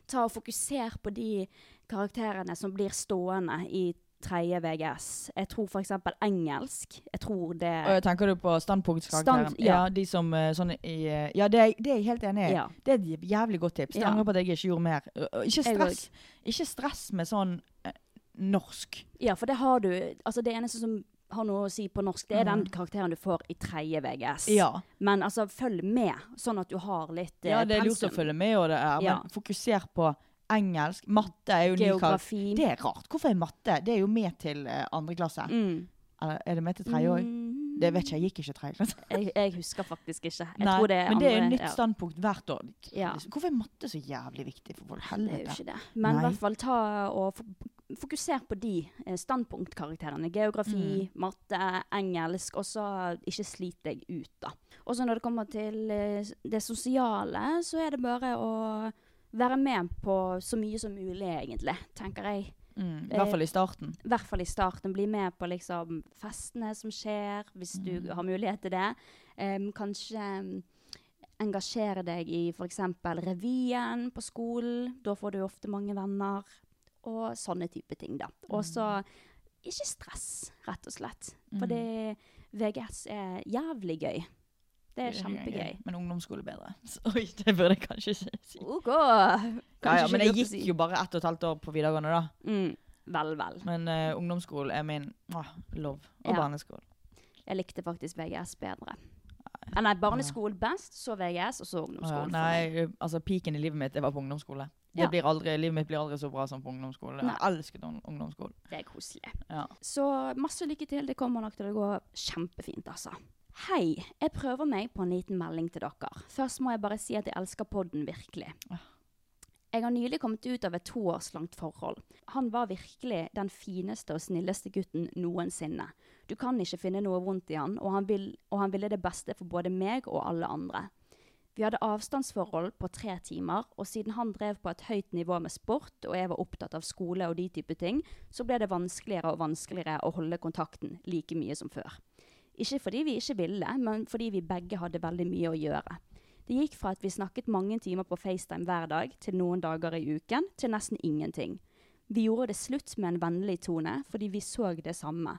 S2: ta og fokuser på de karakterene som blir stående i tredje VGS. Jeg tror f.eks. engelsk. Jeg tror det
S3: Og jeg tenker du på standpunktkarakteren?
S2: Stand- ja.
S3: de som eh, sånn i eh, Ja, det er, det er jeg helt enig i.
S2: Ja.
S3: Det er et jævlig godt tips. Jeg
S2: Ja.
S3: angrer på at jeg ikke gjorde mer. Og- og Ikke
S2: Jeg
S3: stress, ikke stress med sånn eh, norsk.
S2: Ja, for det har du Altså, det eneste som har noe å si på norsk, det er den karakteren du får i tredje VGS.
S3: Mhm. Ja.
S2: Men altså, følg med, sånn at du har litt eh,
S3: ja, det er lurt å
S2: pensum.
S3: følge med, og det er,
S2: Ja.
S3: men fokuser på engelsk. Matte er jo ny kar-
S2: Geografi.
S3: Det er rart. Hvorfor er matte Det er jo med til eh, andre klasse.
S2: Mm.
S3: Eller er det med til tredje òg? Det vet ikke jeg. Jeg gikk ikke tredje klasse.
S2: Jeg, jeg husker faktisk ikke. Jeg
S3: Nei,
S2: tror det er
S3: men det er
S2: andre-
S3: et nytt
S2: ja.
S3: standpunkt hvert år. Liksom,
S2: Ja.
S3: Hvorfor er matte så jævlig viktig for folk?
S2: Det er jo
S3: Helvete.
S2: ikke det. Men i
S3: Nei.
S2: hvert fall ta og fo- fokuser på de eh, standpunktkarakterene.
S3: Mm.
S2: Geografi, matte, engelsk. Og så ikke slit deg ut, da. Og så når det kommer til eh, s- det sosiale, så er det bare å være med på så mye som mulig, egentlig, tenker jeg.
S3: Mm, I hvert fall i starten.
S2: I hvert fall i starten. Bli med på liksom, festene som skjer, hvis du
S3: Mm.
S2: har mulighet til det. Em, kanskje em, engasjere deg i f.eks. revyen på skolen. Da får du ofte mange venner. Og sånne type ting, da. Og
S3: Mm.
S2: så ikke stress, rett og slett. Fordi VGS er jævlig gøy. Det er kjempegøy.
S3: Men ungdomsskole er bedre. Så, oi, det burde jeg kanskje ikke si.
S2: OK!
S3: Ja,
S2: Kanskje
S3: ja,
S2: ikke
S3: men jeg
S2: lurt å
S3: gikk
S2: si.
S3: jo bare ett og et halvt år på videregående, da.
S2: mm, Vel, vel.
S3: Men eh, ungdomsskolen er min ah, love. Og
S2: Ja.
S3: barneskolen.
S2: Jeg likte faktisk VGS bedre. Ah, Nei, barneskolen best, så VGS, og så
S3: Å ja,
S2: ungdomsskolen. for meg.
S3: Nei, altså piken i livet mitt det var på ungdomsskole. Det
S2: Ja.
S3: blir aldri, livet mitt blir aldri så bra som på ungdomsskole.
S2: Nei.
S3: Jeg elsket ung- ungdomsskole.
S2: Det er koselig.
S3: Ja.
S2: Så masse lykke til. Det kommer nok til å gå kjempefint, altså. Hei, jeg prøver meg på en liten melding til dere. Først må jeg bare si at jeg elsker podden virkelig. Jeg har nylig kommet ut av et toårslangt forhold. Han var virkelig den fineste og snilleste gutten noensinne. Du kan ikke finne noe vondt i han, og han, vil, og han ville det beste for både meg og alle andre. Vi hadde avstandsforhold på tre timer, og siden han drev på et høyt nivå med sport, og jeg var opptatt av skole og de type ting, så ble det vanskeligere og vanskeligere å holde kontakten like mye som før. Ikke fordi vi ikke ville, men fordi vi begge hadde veldig mye å gjøre. Det gikk fra at vi snakket mange timer på FaceTime hver dag, til noen dager i uken, til nesten ingenting. Vi gjorde det slutt med en vennlig tone, fordi vi så det samme.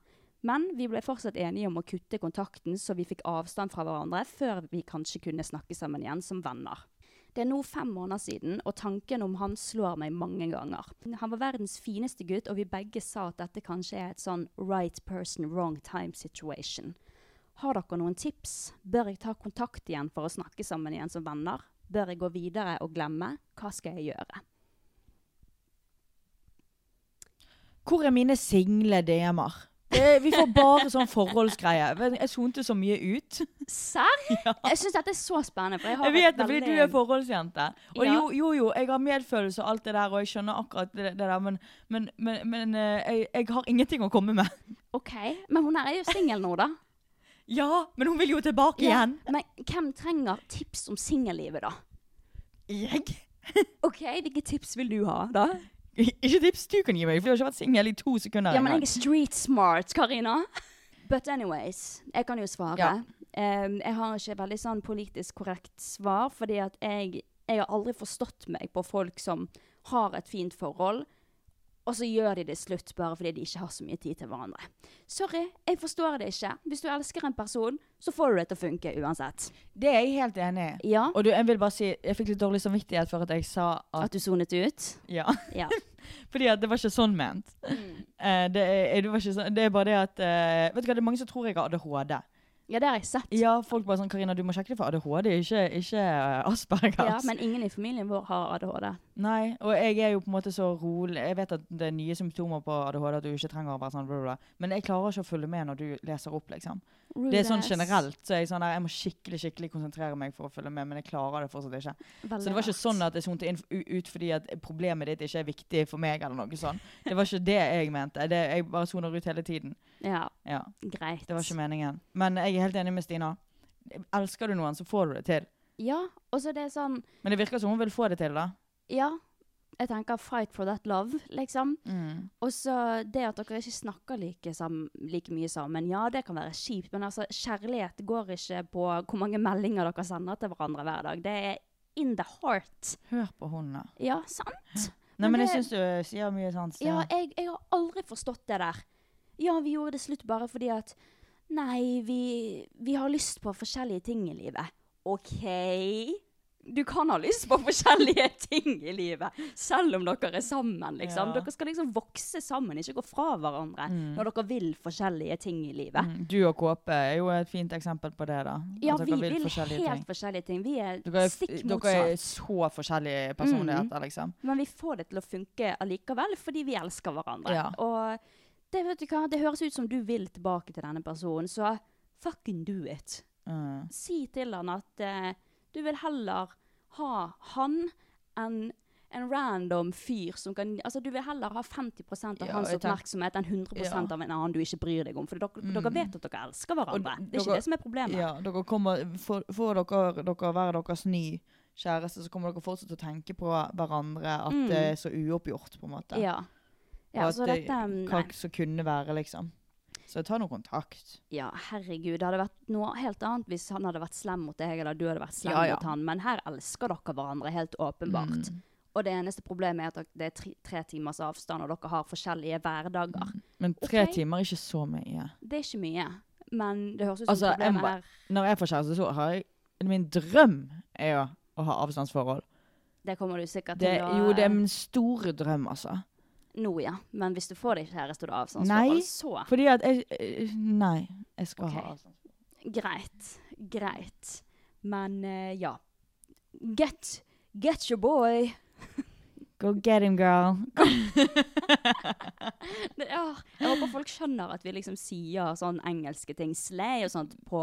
S2: Men vi ble fortsatt enige om å kutte kontakten, så vi fikk avstand fra hverandre før vi kanskje kunne snakke sammen igjen som venner. Det er nå fem måneder siden, og tanken om han slår meg mange ganger. Han var verdens fineste gutt, og vi begge sa at dette kanskje er et sånn right person, wrong time situation. Har dere noen tips? Bør jeg ta kontakt igjen for å snakke sammen igjen som venner? Bør jeg gå videre og glemme? Hva skal jeg gjøre?
S3: Hvor er mine single DM-er? Det- Vi får bare sånn forholdsgreie. Vet du, Jeg sonte så mye ut.
S2: Serr? Jeg syns dette er så spennende. For jeg, har
S3: Jeg vet
S2: vært
S3: det, fordi
S2: veldig-
S3: du er forholdsjente. Og
S2: Ja.
S3: jo, jo, jo, jeg har medfølelse og alt det der, og jeg skjønner akkurat det, det der, men, men, men, men eh, jeg, jeg har ingenting å komme med.
S2: OK, men hun her er jo singel nå, da.
S3: Ja, men hun vil jo tilbake igjen.
S2: Ja, Men hvem trenger tips om singellivet, da?
S3: Jeg?
S2: OK, hvilke tips vil du ha, da?
S3: Ikke tips du kan gi meg, for du har ikke vært singel i to sekunder.
S2: Ja, men
S3: engang.
S2: jeg er street smart, Karina. But anyways, jeg kan jo svare.
S3: Ja.
S2: Em, jeg har ikke veldig sånn politisk korrekt svar, fordi at jeg, jeg har aldri forstått meg på folk som har et fint forhold, og så gjør de det slutt bare fordi de ikke har så mye tid til hverandre. Sorry, jeg forstår det ikke. Hvis du elsker en person, så får du det til å funke uansett.
S3: Det er jeg helt enig i.
S2: Ja,
S3: Og du, jeg vil bare si, jeg fikk litt dårlig samvittighet for at jeg sa at
S2: at du sonet ut.
S3: Ja.
S2: Ja.
S3: Fordi at det var ikke sånn ment. Eh, det, er, det, var ikke sånn, det er bare det at eh, Vet du hva, det er mange som tror jeg har ADHD.
S2: ja, det har jeg sett.
S3: Ja, folk bare sånn 'Karina, du må sjekke det for ADHD, ikke, ikke eh, Aspergers'.
S2: Ja, men ingen i familien vår har ADHD.
S3: Nei, og jeg er jo på en måte så rolig Jeg vet at det er nye symptomer på ADHD at du ikke trenger å være sånn bla, bla, bla. Men jeg klarer ikke å følge med når du leser opp, liksom. Det er sånn generelt. Så er jeg sånn der, jeg må skikkelig skikkelig konsentrere meg for å følge med, men jeg klarer det fortsatt ikke. Så det var ikke sånn at jeg sonte inn, u- ut fordi at problemet ditt ikke er viktig for meg, eller noe sånn. Det var ikke det jeg mente. Det, jeg bare soner ut hele tiden.
S2: Ja,
S3: Ja,
S2: greit.
S3: Det var ikke meningen. Men jeg er helt enig med Stina. Elsker du noen, så får du det til.
S2: Ja, og så det er sånn
S3: Men det virker som hun vil få det til, da.
S2: Ja, jeg tenker 'fight for that love', liksom. Og så det at dere ikke snakker like, sam like mye sammen. Ja, det kan være kjipt, men altså, kjærlighet går ikke på hvor mange meldinger dere sender til hverandre hver dag. Det er in the heart.
S3: Hør på hun, da.
S2: Ja, sant?
S3: Nei, men jeg
S2: det-
S3: syns du eh, sier mye sånn, sant.
S2: Ja,
S3: Stina.
S2: jeg, jeg har aldri forstått det der. Ja, vi gjorde det slutt bare fordi at Nei, vi, vi har lyst på forskjellige ting i livet. OK Du kan ha lyst på forskjellige ting i livet, selv om dere er sammen, liksom.
S3: Ja.
S2: Dere skal liksom vokse sammen, ikke gå fra hverandre når dere vil forskjellige ting i livet.
S3: Mm, Du og Kåpe er jo et fint eksempel på det, da.
S2: Ja,
S3: At dere
S2: vi vil
S3: forskjellige
S2: helt
S3: ting.
S2: forskjellige ting. Vi er
S3: Dere er,
S2: stikk
S3: dere er
S2: motsatt. Mm.
S3: så forskjellige personligheter, liksom.
S2: Men vi får det til å funke allikevel, fordi vi elsker hverandre.
S3: Ja.
S2: Og det, vet du hva, det høres ut som du vil tilbake til denne personen, så fucking do it.
S3: Mm.
S2: Si til han at eh, du vil heller ha han enn en random fyr som kan Altså, du vil heller ha 50 av
S3: Ja,
S2: hans
S3: jeg tenk-
S2: oppmerksomhet enn 100
S3: Ja.
S2: av en annen du ikke bryr deg om. For dere, dere vet at dere elsker hverandre.
S3: d-
S2: det er
S3: dere-
S2: ikke det som er problemet.
S3: Ja, dere kommer, får, får dere, dere være deres ny kjæreste, så kommer dere fortsatt til å tenke på hverandre at
S2: Mm.
S3: det er så uoppgjort, på en måte.
S2: Ja.
S3: Og
S2: Ja,
S3: at
S2: så
S3: det-
S2: dette mm,
S3: hva
S2: Nei.
S3: som kunne være, liksom. Så ta nå kontakt.
S2: Ja, herregud. Det hadde vært noe helt annet hvis han hadde vært slem mot deg, eller du hadde vært slem
S3: Ja, ja. Mm.
S2: mot han. Men her elsker dere hverandre, helt åpenbart. Og det eneste problemet er at dere- det er tre, tre timers avstand, og dere har forskjellige hverdager.
S3: Men tre
S2: Ok.
S3: timer er ikke så mye.
S2: Det er ikke mye, men det høres ut som
S3: Altså, jeg må-
S2: problemet er
S3: Når jeg får kjæreste, så har jeg Min drøm er jo å ha avstandsforhold.
S2: Det kommer du sikkert
S3: Det,
S2: til å
S3: jo, det er min store drøm, altså.
S2: Nå, ja. Men hvis du får deg kjæreste da, sånn
S3: Nei.
S2: så
S3: Fordi at jeg eh, Nei, jeg skal
S2: Ok.
S3: ha avstand.
S2: Greit. Greit. Men eh, ja. Get, get your boy.
S3: Go get him, girl.
S2: Det, ja, jeg håper folk skjønner at vi liksom sier sånn engelske ting, slay og sånt, på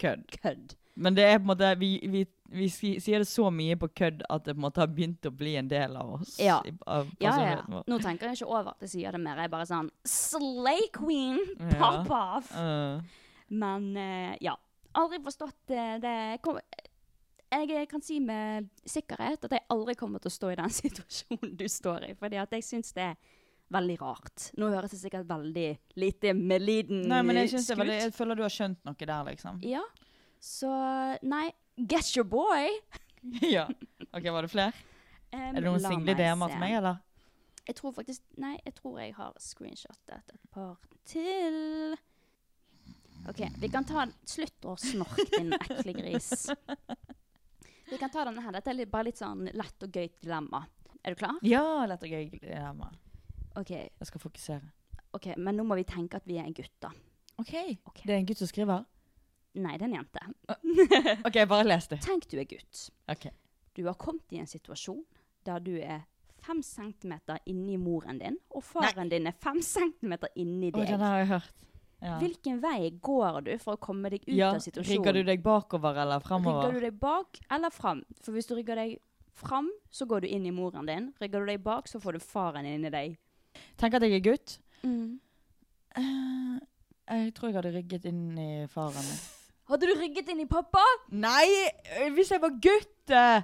S3: Kødd.
S2: kødd.
S3: Men det er på en måte Vi, vi, vi si- sier det så mye på kødd at det på en måte har begynt å bli en del av oss.
S2: Ja.
S3: i- Av
S2: Ja, ja.
S3: personligheten vår.
S2: Nå tenker jeg ikke over at jeg sier det mer. Jeg er bare sånn Slay queen,
S3: Ja.
S2: pop off!
S3: Eh,
S2: Men eh, ja. Aldri forstått eh, det Kom, Jeg kan si med sikkerhet at jeg aldri kommer til å stå i den situasjonen du står i. Fordi at jeg syns det er veldig rart. Nå høres det sikkert veldig lite medlidende ut.
S3: nei, men jeg, synes det er veldig, jeg føler du har skjønt noe der, liksom.
S2: Ja. Så nei. Get your boy!
S3: ja. OK, var det flere?
S2: Um,
S3: Er det noen
S2: la
S3: single
S2: meg
S3: DM-er
S2: se.
S3: til meg, eller?
S2: Jeg tror faktisk Nei, jeg tror jeg har screenshotet et par til. OK, vi kan ta Slutt å snorke, din ekle gris. Vi kan ta denne her. Dette er litt, bare litt sånn lett og gøy dilemma. Er du klar?
S3: Ja, lett og gøy dilemma.
S2: OK,
S3: Jeg skal fokusere.
S2: ok, men nå må vi tenke at vi er gutter.
S3: OK. Det er en gutt som skriver?
S2: Nei, det er en jente.
S3: OK, bare les det.
S2: Tenk du er gutt.
S3: Ok.
S2: Du har kommet i en situasjon der du er fem centimeter inni moren din, og faren din er fem centimeter inni
S3: Å,
S2: deg.
S3: den har jeg hørt. Ja.
S2: Hvilken vei går du for å komme deg ut
S3: ja,
S2: av situasjonen?
S3: Rigger du deg bakover eller framover?
S2: Rygger du deg bak eller fram? For hvis du rygger deg fram, så går du inn i moren din. Rygger du deg bak, så får du faren inni deg.
S3: Tenk at jeg er gutt. Eh, Jeg tror jeg hadde rygget inn i faren min.
S2: Hadde du rygget inn i pappa?
S3: Nei! øh, Hvis jeg var gutt! eh.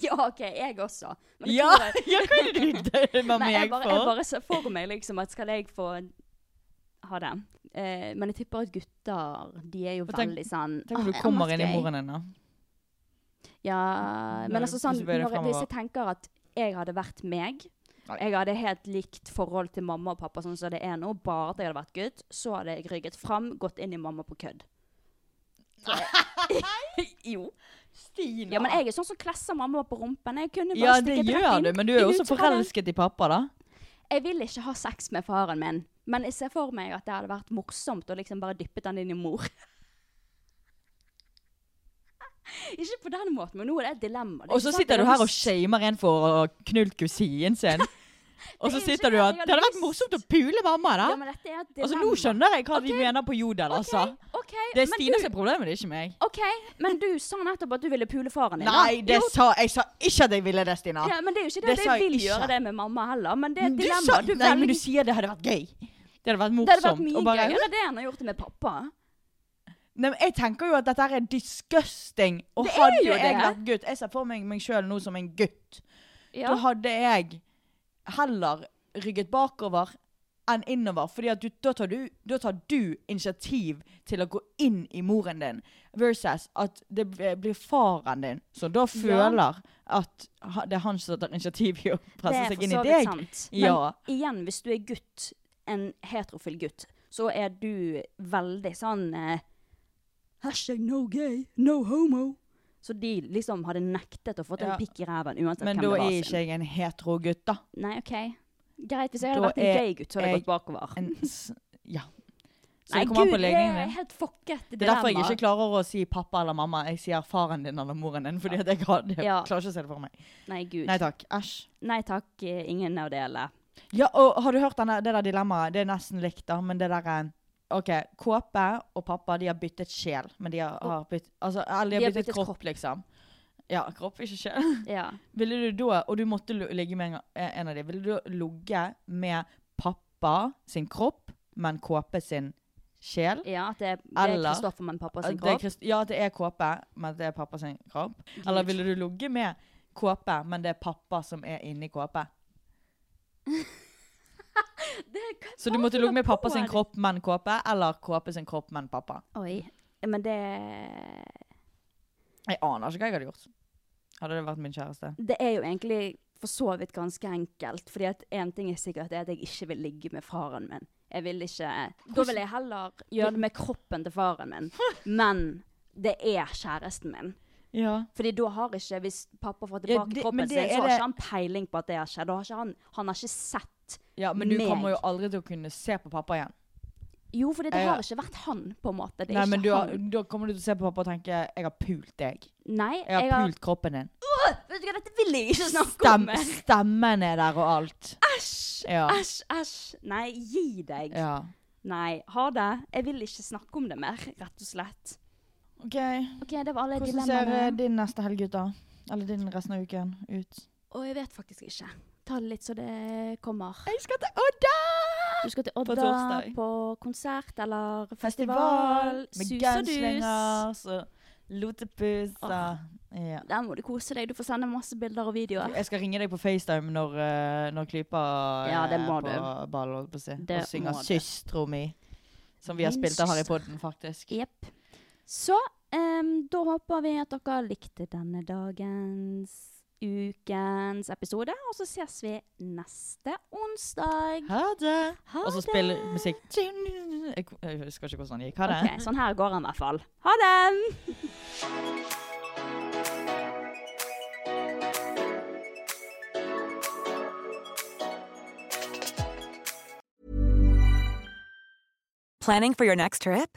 S2: Ja, OK, jeg også. Men jeg
S3: Ja!
S2: tror at-
S3: ja, hva er det du dømmer
S2: Nei, jeg
S3: meg
S2: bare, jeg
S3: for?
S2: bare ser for meg liksom at skal jeg få ha det. Eh, men jeg tipper at gutter, de er jo
S3: Og tenk-
S2: veldig sånn
S3: Tenk om
S2: «Åh,
S3: du
S2: jeg
S3: kommer
S2: måtte
S3: inn i
S2: jeg».
S3: moren din, da.
S2: Ja,
S3: Når
S2: men
S3: Mm, du
S2: altså sånn,
S3: plutselig bøyer deg
S2: når, jeg- hvis
S3: fremover.
S2: jeg tenker at jeg hadde vært meg,
S3: Nei.
S2: jeg hadde helt likt forhold til mamma og pappa sånn som det er nå, bare at jeg hadde vært gutt, så hadde jeg rygget fram, gått inn i mamma på kødd. Nei! jo.
S3: Stina.
S2: Ja, men jeg er sånn som klesser mamma på rumpen. Jeg kunne bare
S3: Ja, det
S2: stikket rett
S3: gjør
S2: inn.
S3: du, men du er jo
S2: i
S3: også
S2: utkaren.
S3: forelsket i pappa, da.
S2: Jeg vil ikke ha sex med faren min, men jeg ser for meg at det hadde vært morsomt å liksom bare dyppet den inn i mor. Ikke på den måten, men nå er det et dilemma. Det er
S3: Og
S2: ikke
S3: så
S2: sant,
S3: sitter
S2: jeg
S3: du
S2: hadde
S3: her og
S2: s-
S3: shamer en for å ha knult kusinen sin. Og
S2: Det er
S3: så
S2: ikke
S3: sitter du
S2: det,
S3: og
S2: jeg
S3: Det
S2: hadde
S3: hadde vært
S2: lyst-
S3: morsomt å pule mamma, da.
S2: Ja, men dette er et dilemma.
S3: Altså, nå skjønner jeg hva
S2: Ok,
S3: de mener på Jodel,
S2: ok,
S3: altså.
S2: ok,
S3: Det er
S2: men
S3: Stine
S2: du-
S3: som er problemet, det er ikke meg.
S2: OK, men du sa nettopp at du ville pule faren din. da.
S3: Nei, det
S2: Jo,
S3: sa, jeg sa ikke at jeg ville det, Stina.
S2: Ja, men det er jo ikke det,
S3: Det
S2: at
S3: sa
S2: jeg
S3: jeg
S2: vil
S3: ikke.
S2: gjøre det med mamma heller, men det er et
S3: Du
S2: dilemma.
S3: sa,
S2: Du
S3: nei, men
S2: velger-
S3: du sier det hadde vært gøy. Det hadde vært morsomt.
S2: det hadde vært mye
S3: og bare-
S2: gøyere det enn å gjort det med pappa.
S3: Nei, men jeg tenker jo at dette er disgusting. Og
S2: Det er
S3: hadde
S2: jo
S3: jeg
S2: det.
S3: vært gutt Jeg ser for meg meg sjøl nå som en gutt.
S2: Ja.
S3: Da hadde jeg heller rygget bakover enn innover. Fordi at du, da, tar du, da tar du initiativ til å gå inn i moren din, versus at det b- blir faren din som da føler at ha- det er han som tar initiativ i å
S2: Det
S3: presse
S2: er
S3: seg
S2: for
S3: inn i
S2: så
S3: deg.
S2: vidt sant. Men
S3: Ja.
S2: igjen, hvis du er gutt, en heterofil gutt, så er du veldig sånn eh, Hashtag no gay, no homo. Så de liksom hadde nektet å få en
S3: Ja.
S2: pikk i ræven uansett
S3: Men
S2: hvem
S3: da
S2: det var
S3: er
S2: sin.
S3: ikke jeg en hetero gutt, da.
S2: Nei, OK. Greit, hvis jeg hadde
S3: Da
S2: vært en
S3: er
S2: gay gutt, så hadde jeg
S3: jeg
S2: gått bakover.
S3: En, s ja. Så
S2: Nei,
S3: det kommer an
S2: gud, eh,
S3: på
S2: det
S3: legningen
S2: er
S3: din.
S2: helt fucket dilemma.
S3: Det er derfor jeg ikke klarer å si pappa eller mamma. Jeg sier faren din eller moren din. Fordi at jeg, har, jeg
S2: Ja.
S3: klarer ikke å se det for meg.
S2: Nei, gud.
S3: Nei takk. Æsj.
S2: Nei takk, eh, ingen av delene.
S3: Ja, og har du hørt denne, det der dilemmaet? Det er nesten likt, da, men det derre OK, Kåpe og pappa de har byttet sjel, men de har, har bytt, altså, eller de har byttet, kropp, liksom. Ja, kropp, ikke sjel.
S2: Ja.
S3: Ville du da, og du måtte lo- ligge med en, eh, en av de, ville du da ligge med pappa sin kropp, men Kåpe sin sjel?
S2: ja, at det, det er
S3: Eller-
S2: Kristoffer, men pappa sin
S3: At det er
S2: kropp.
S3: Krist- Ja, at det er kåpe, men det er pappa sin kropp. Eller ville du ligge med kåpe, men det er pappa som er inni kåpe? Så du måtte ligge med pappa sin kropp, men kåpe, eller kåpe sin kropp, men pappa?
S2: Oi. Men det
S3: Jeg aner ikke hva jeg hadde gjort. Hadde det vært min kjæreste.
S2: Det er jo egentlig for så vidt ganske enkelt. Fordi at én ting er sikkert, det er at jeg ikke vil ligge med faren min. Jeg vil ikke Da vil jeg heller gjøre det med kroppen til faren min. Men det er kjæresten min.
S3: Ja.
S2: Fordi da har ikke, hvis pappa får
S3: Ja,
S2: tilbake
S3: det- men
S2: kroppen
S3: det
S2: sin,
S3: er
S2: så har
S3: det-
S2: ikke han peiling på at det har skjedd. Da har ikke han, han har ikke sett
S3: Men du
S2: meg.
S3: kommer jo aldri til å kunne se på pappa igjen.
S2: Jo, fordi det
S3: Ja.
S2: har ikke vært han, på en måte. Det er
S3: Nei,
S2: ikke
S3: men du, har-
S2: han.
S3: Da kommer du til å se på pappa og tenke 'jeg har pult deg'.
S2: Nei,
S3: Jeg har pult kroppen din.
S2: Øh, Vet du hva, dette vil jeg ikke snakke
S3: Stem,
S2: om!
S3: stemmen er der og alt.
S2: Æsj!
S3: Ja.
S2: Æsj, æsj. Nei, gi deg.
S3: Ja.
S2: Nei, ha det. Jeg vil ikke snakke om det mer, rett og slett.
S3: OK.
S2: OK, det var alle
S3: Hvordan ser eh,
S2: dilemmaene.
S3: din neste helg ut, da? Eller din resten av uken ut?
S2: Og jeg vet faktisk ikke. Ta det litt så det kommer.
S3: Jeg skal til Odda!
S2: Du skal til Odda
S3: På torsdag.
S2: på konsert eller
S3: Festival
S2: festival.
S3: med
S2: Sus og dus.
S3: gunslingers og lotepusser. Ja.
S2: Der må du kose deg. Du får sende masse bilder og videoer.
S3: Jeg skal ringe deg på FaceTime når, eh, når klypa eh,
S2: Ja, det må
S3: på
S2: du.
S3: ball, holdt på å si.
S2: Det
S3: Og synger
S2: må du.
S3: 'Søstro mi', som vi har
S2: Min
S3: spilt av her i
S2: søster.
S3: podden, faktisk.
S2: Jepp. Så em, da håper vi at dere likte denne dagens ukens episode. Og så ses vi neste onsdag.
S3: Ha det!
S2: Ha
S3: Og så
S2: det!
S3: spiller musikk Jeg jeg husker ikke hvordan den gikk. Ha det.
S2: Ok, sånn her går han i hvert fall. Ha det!
S5: Planning for your next trip?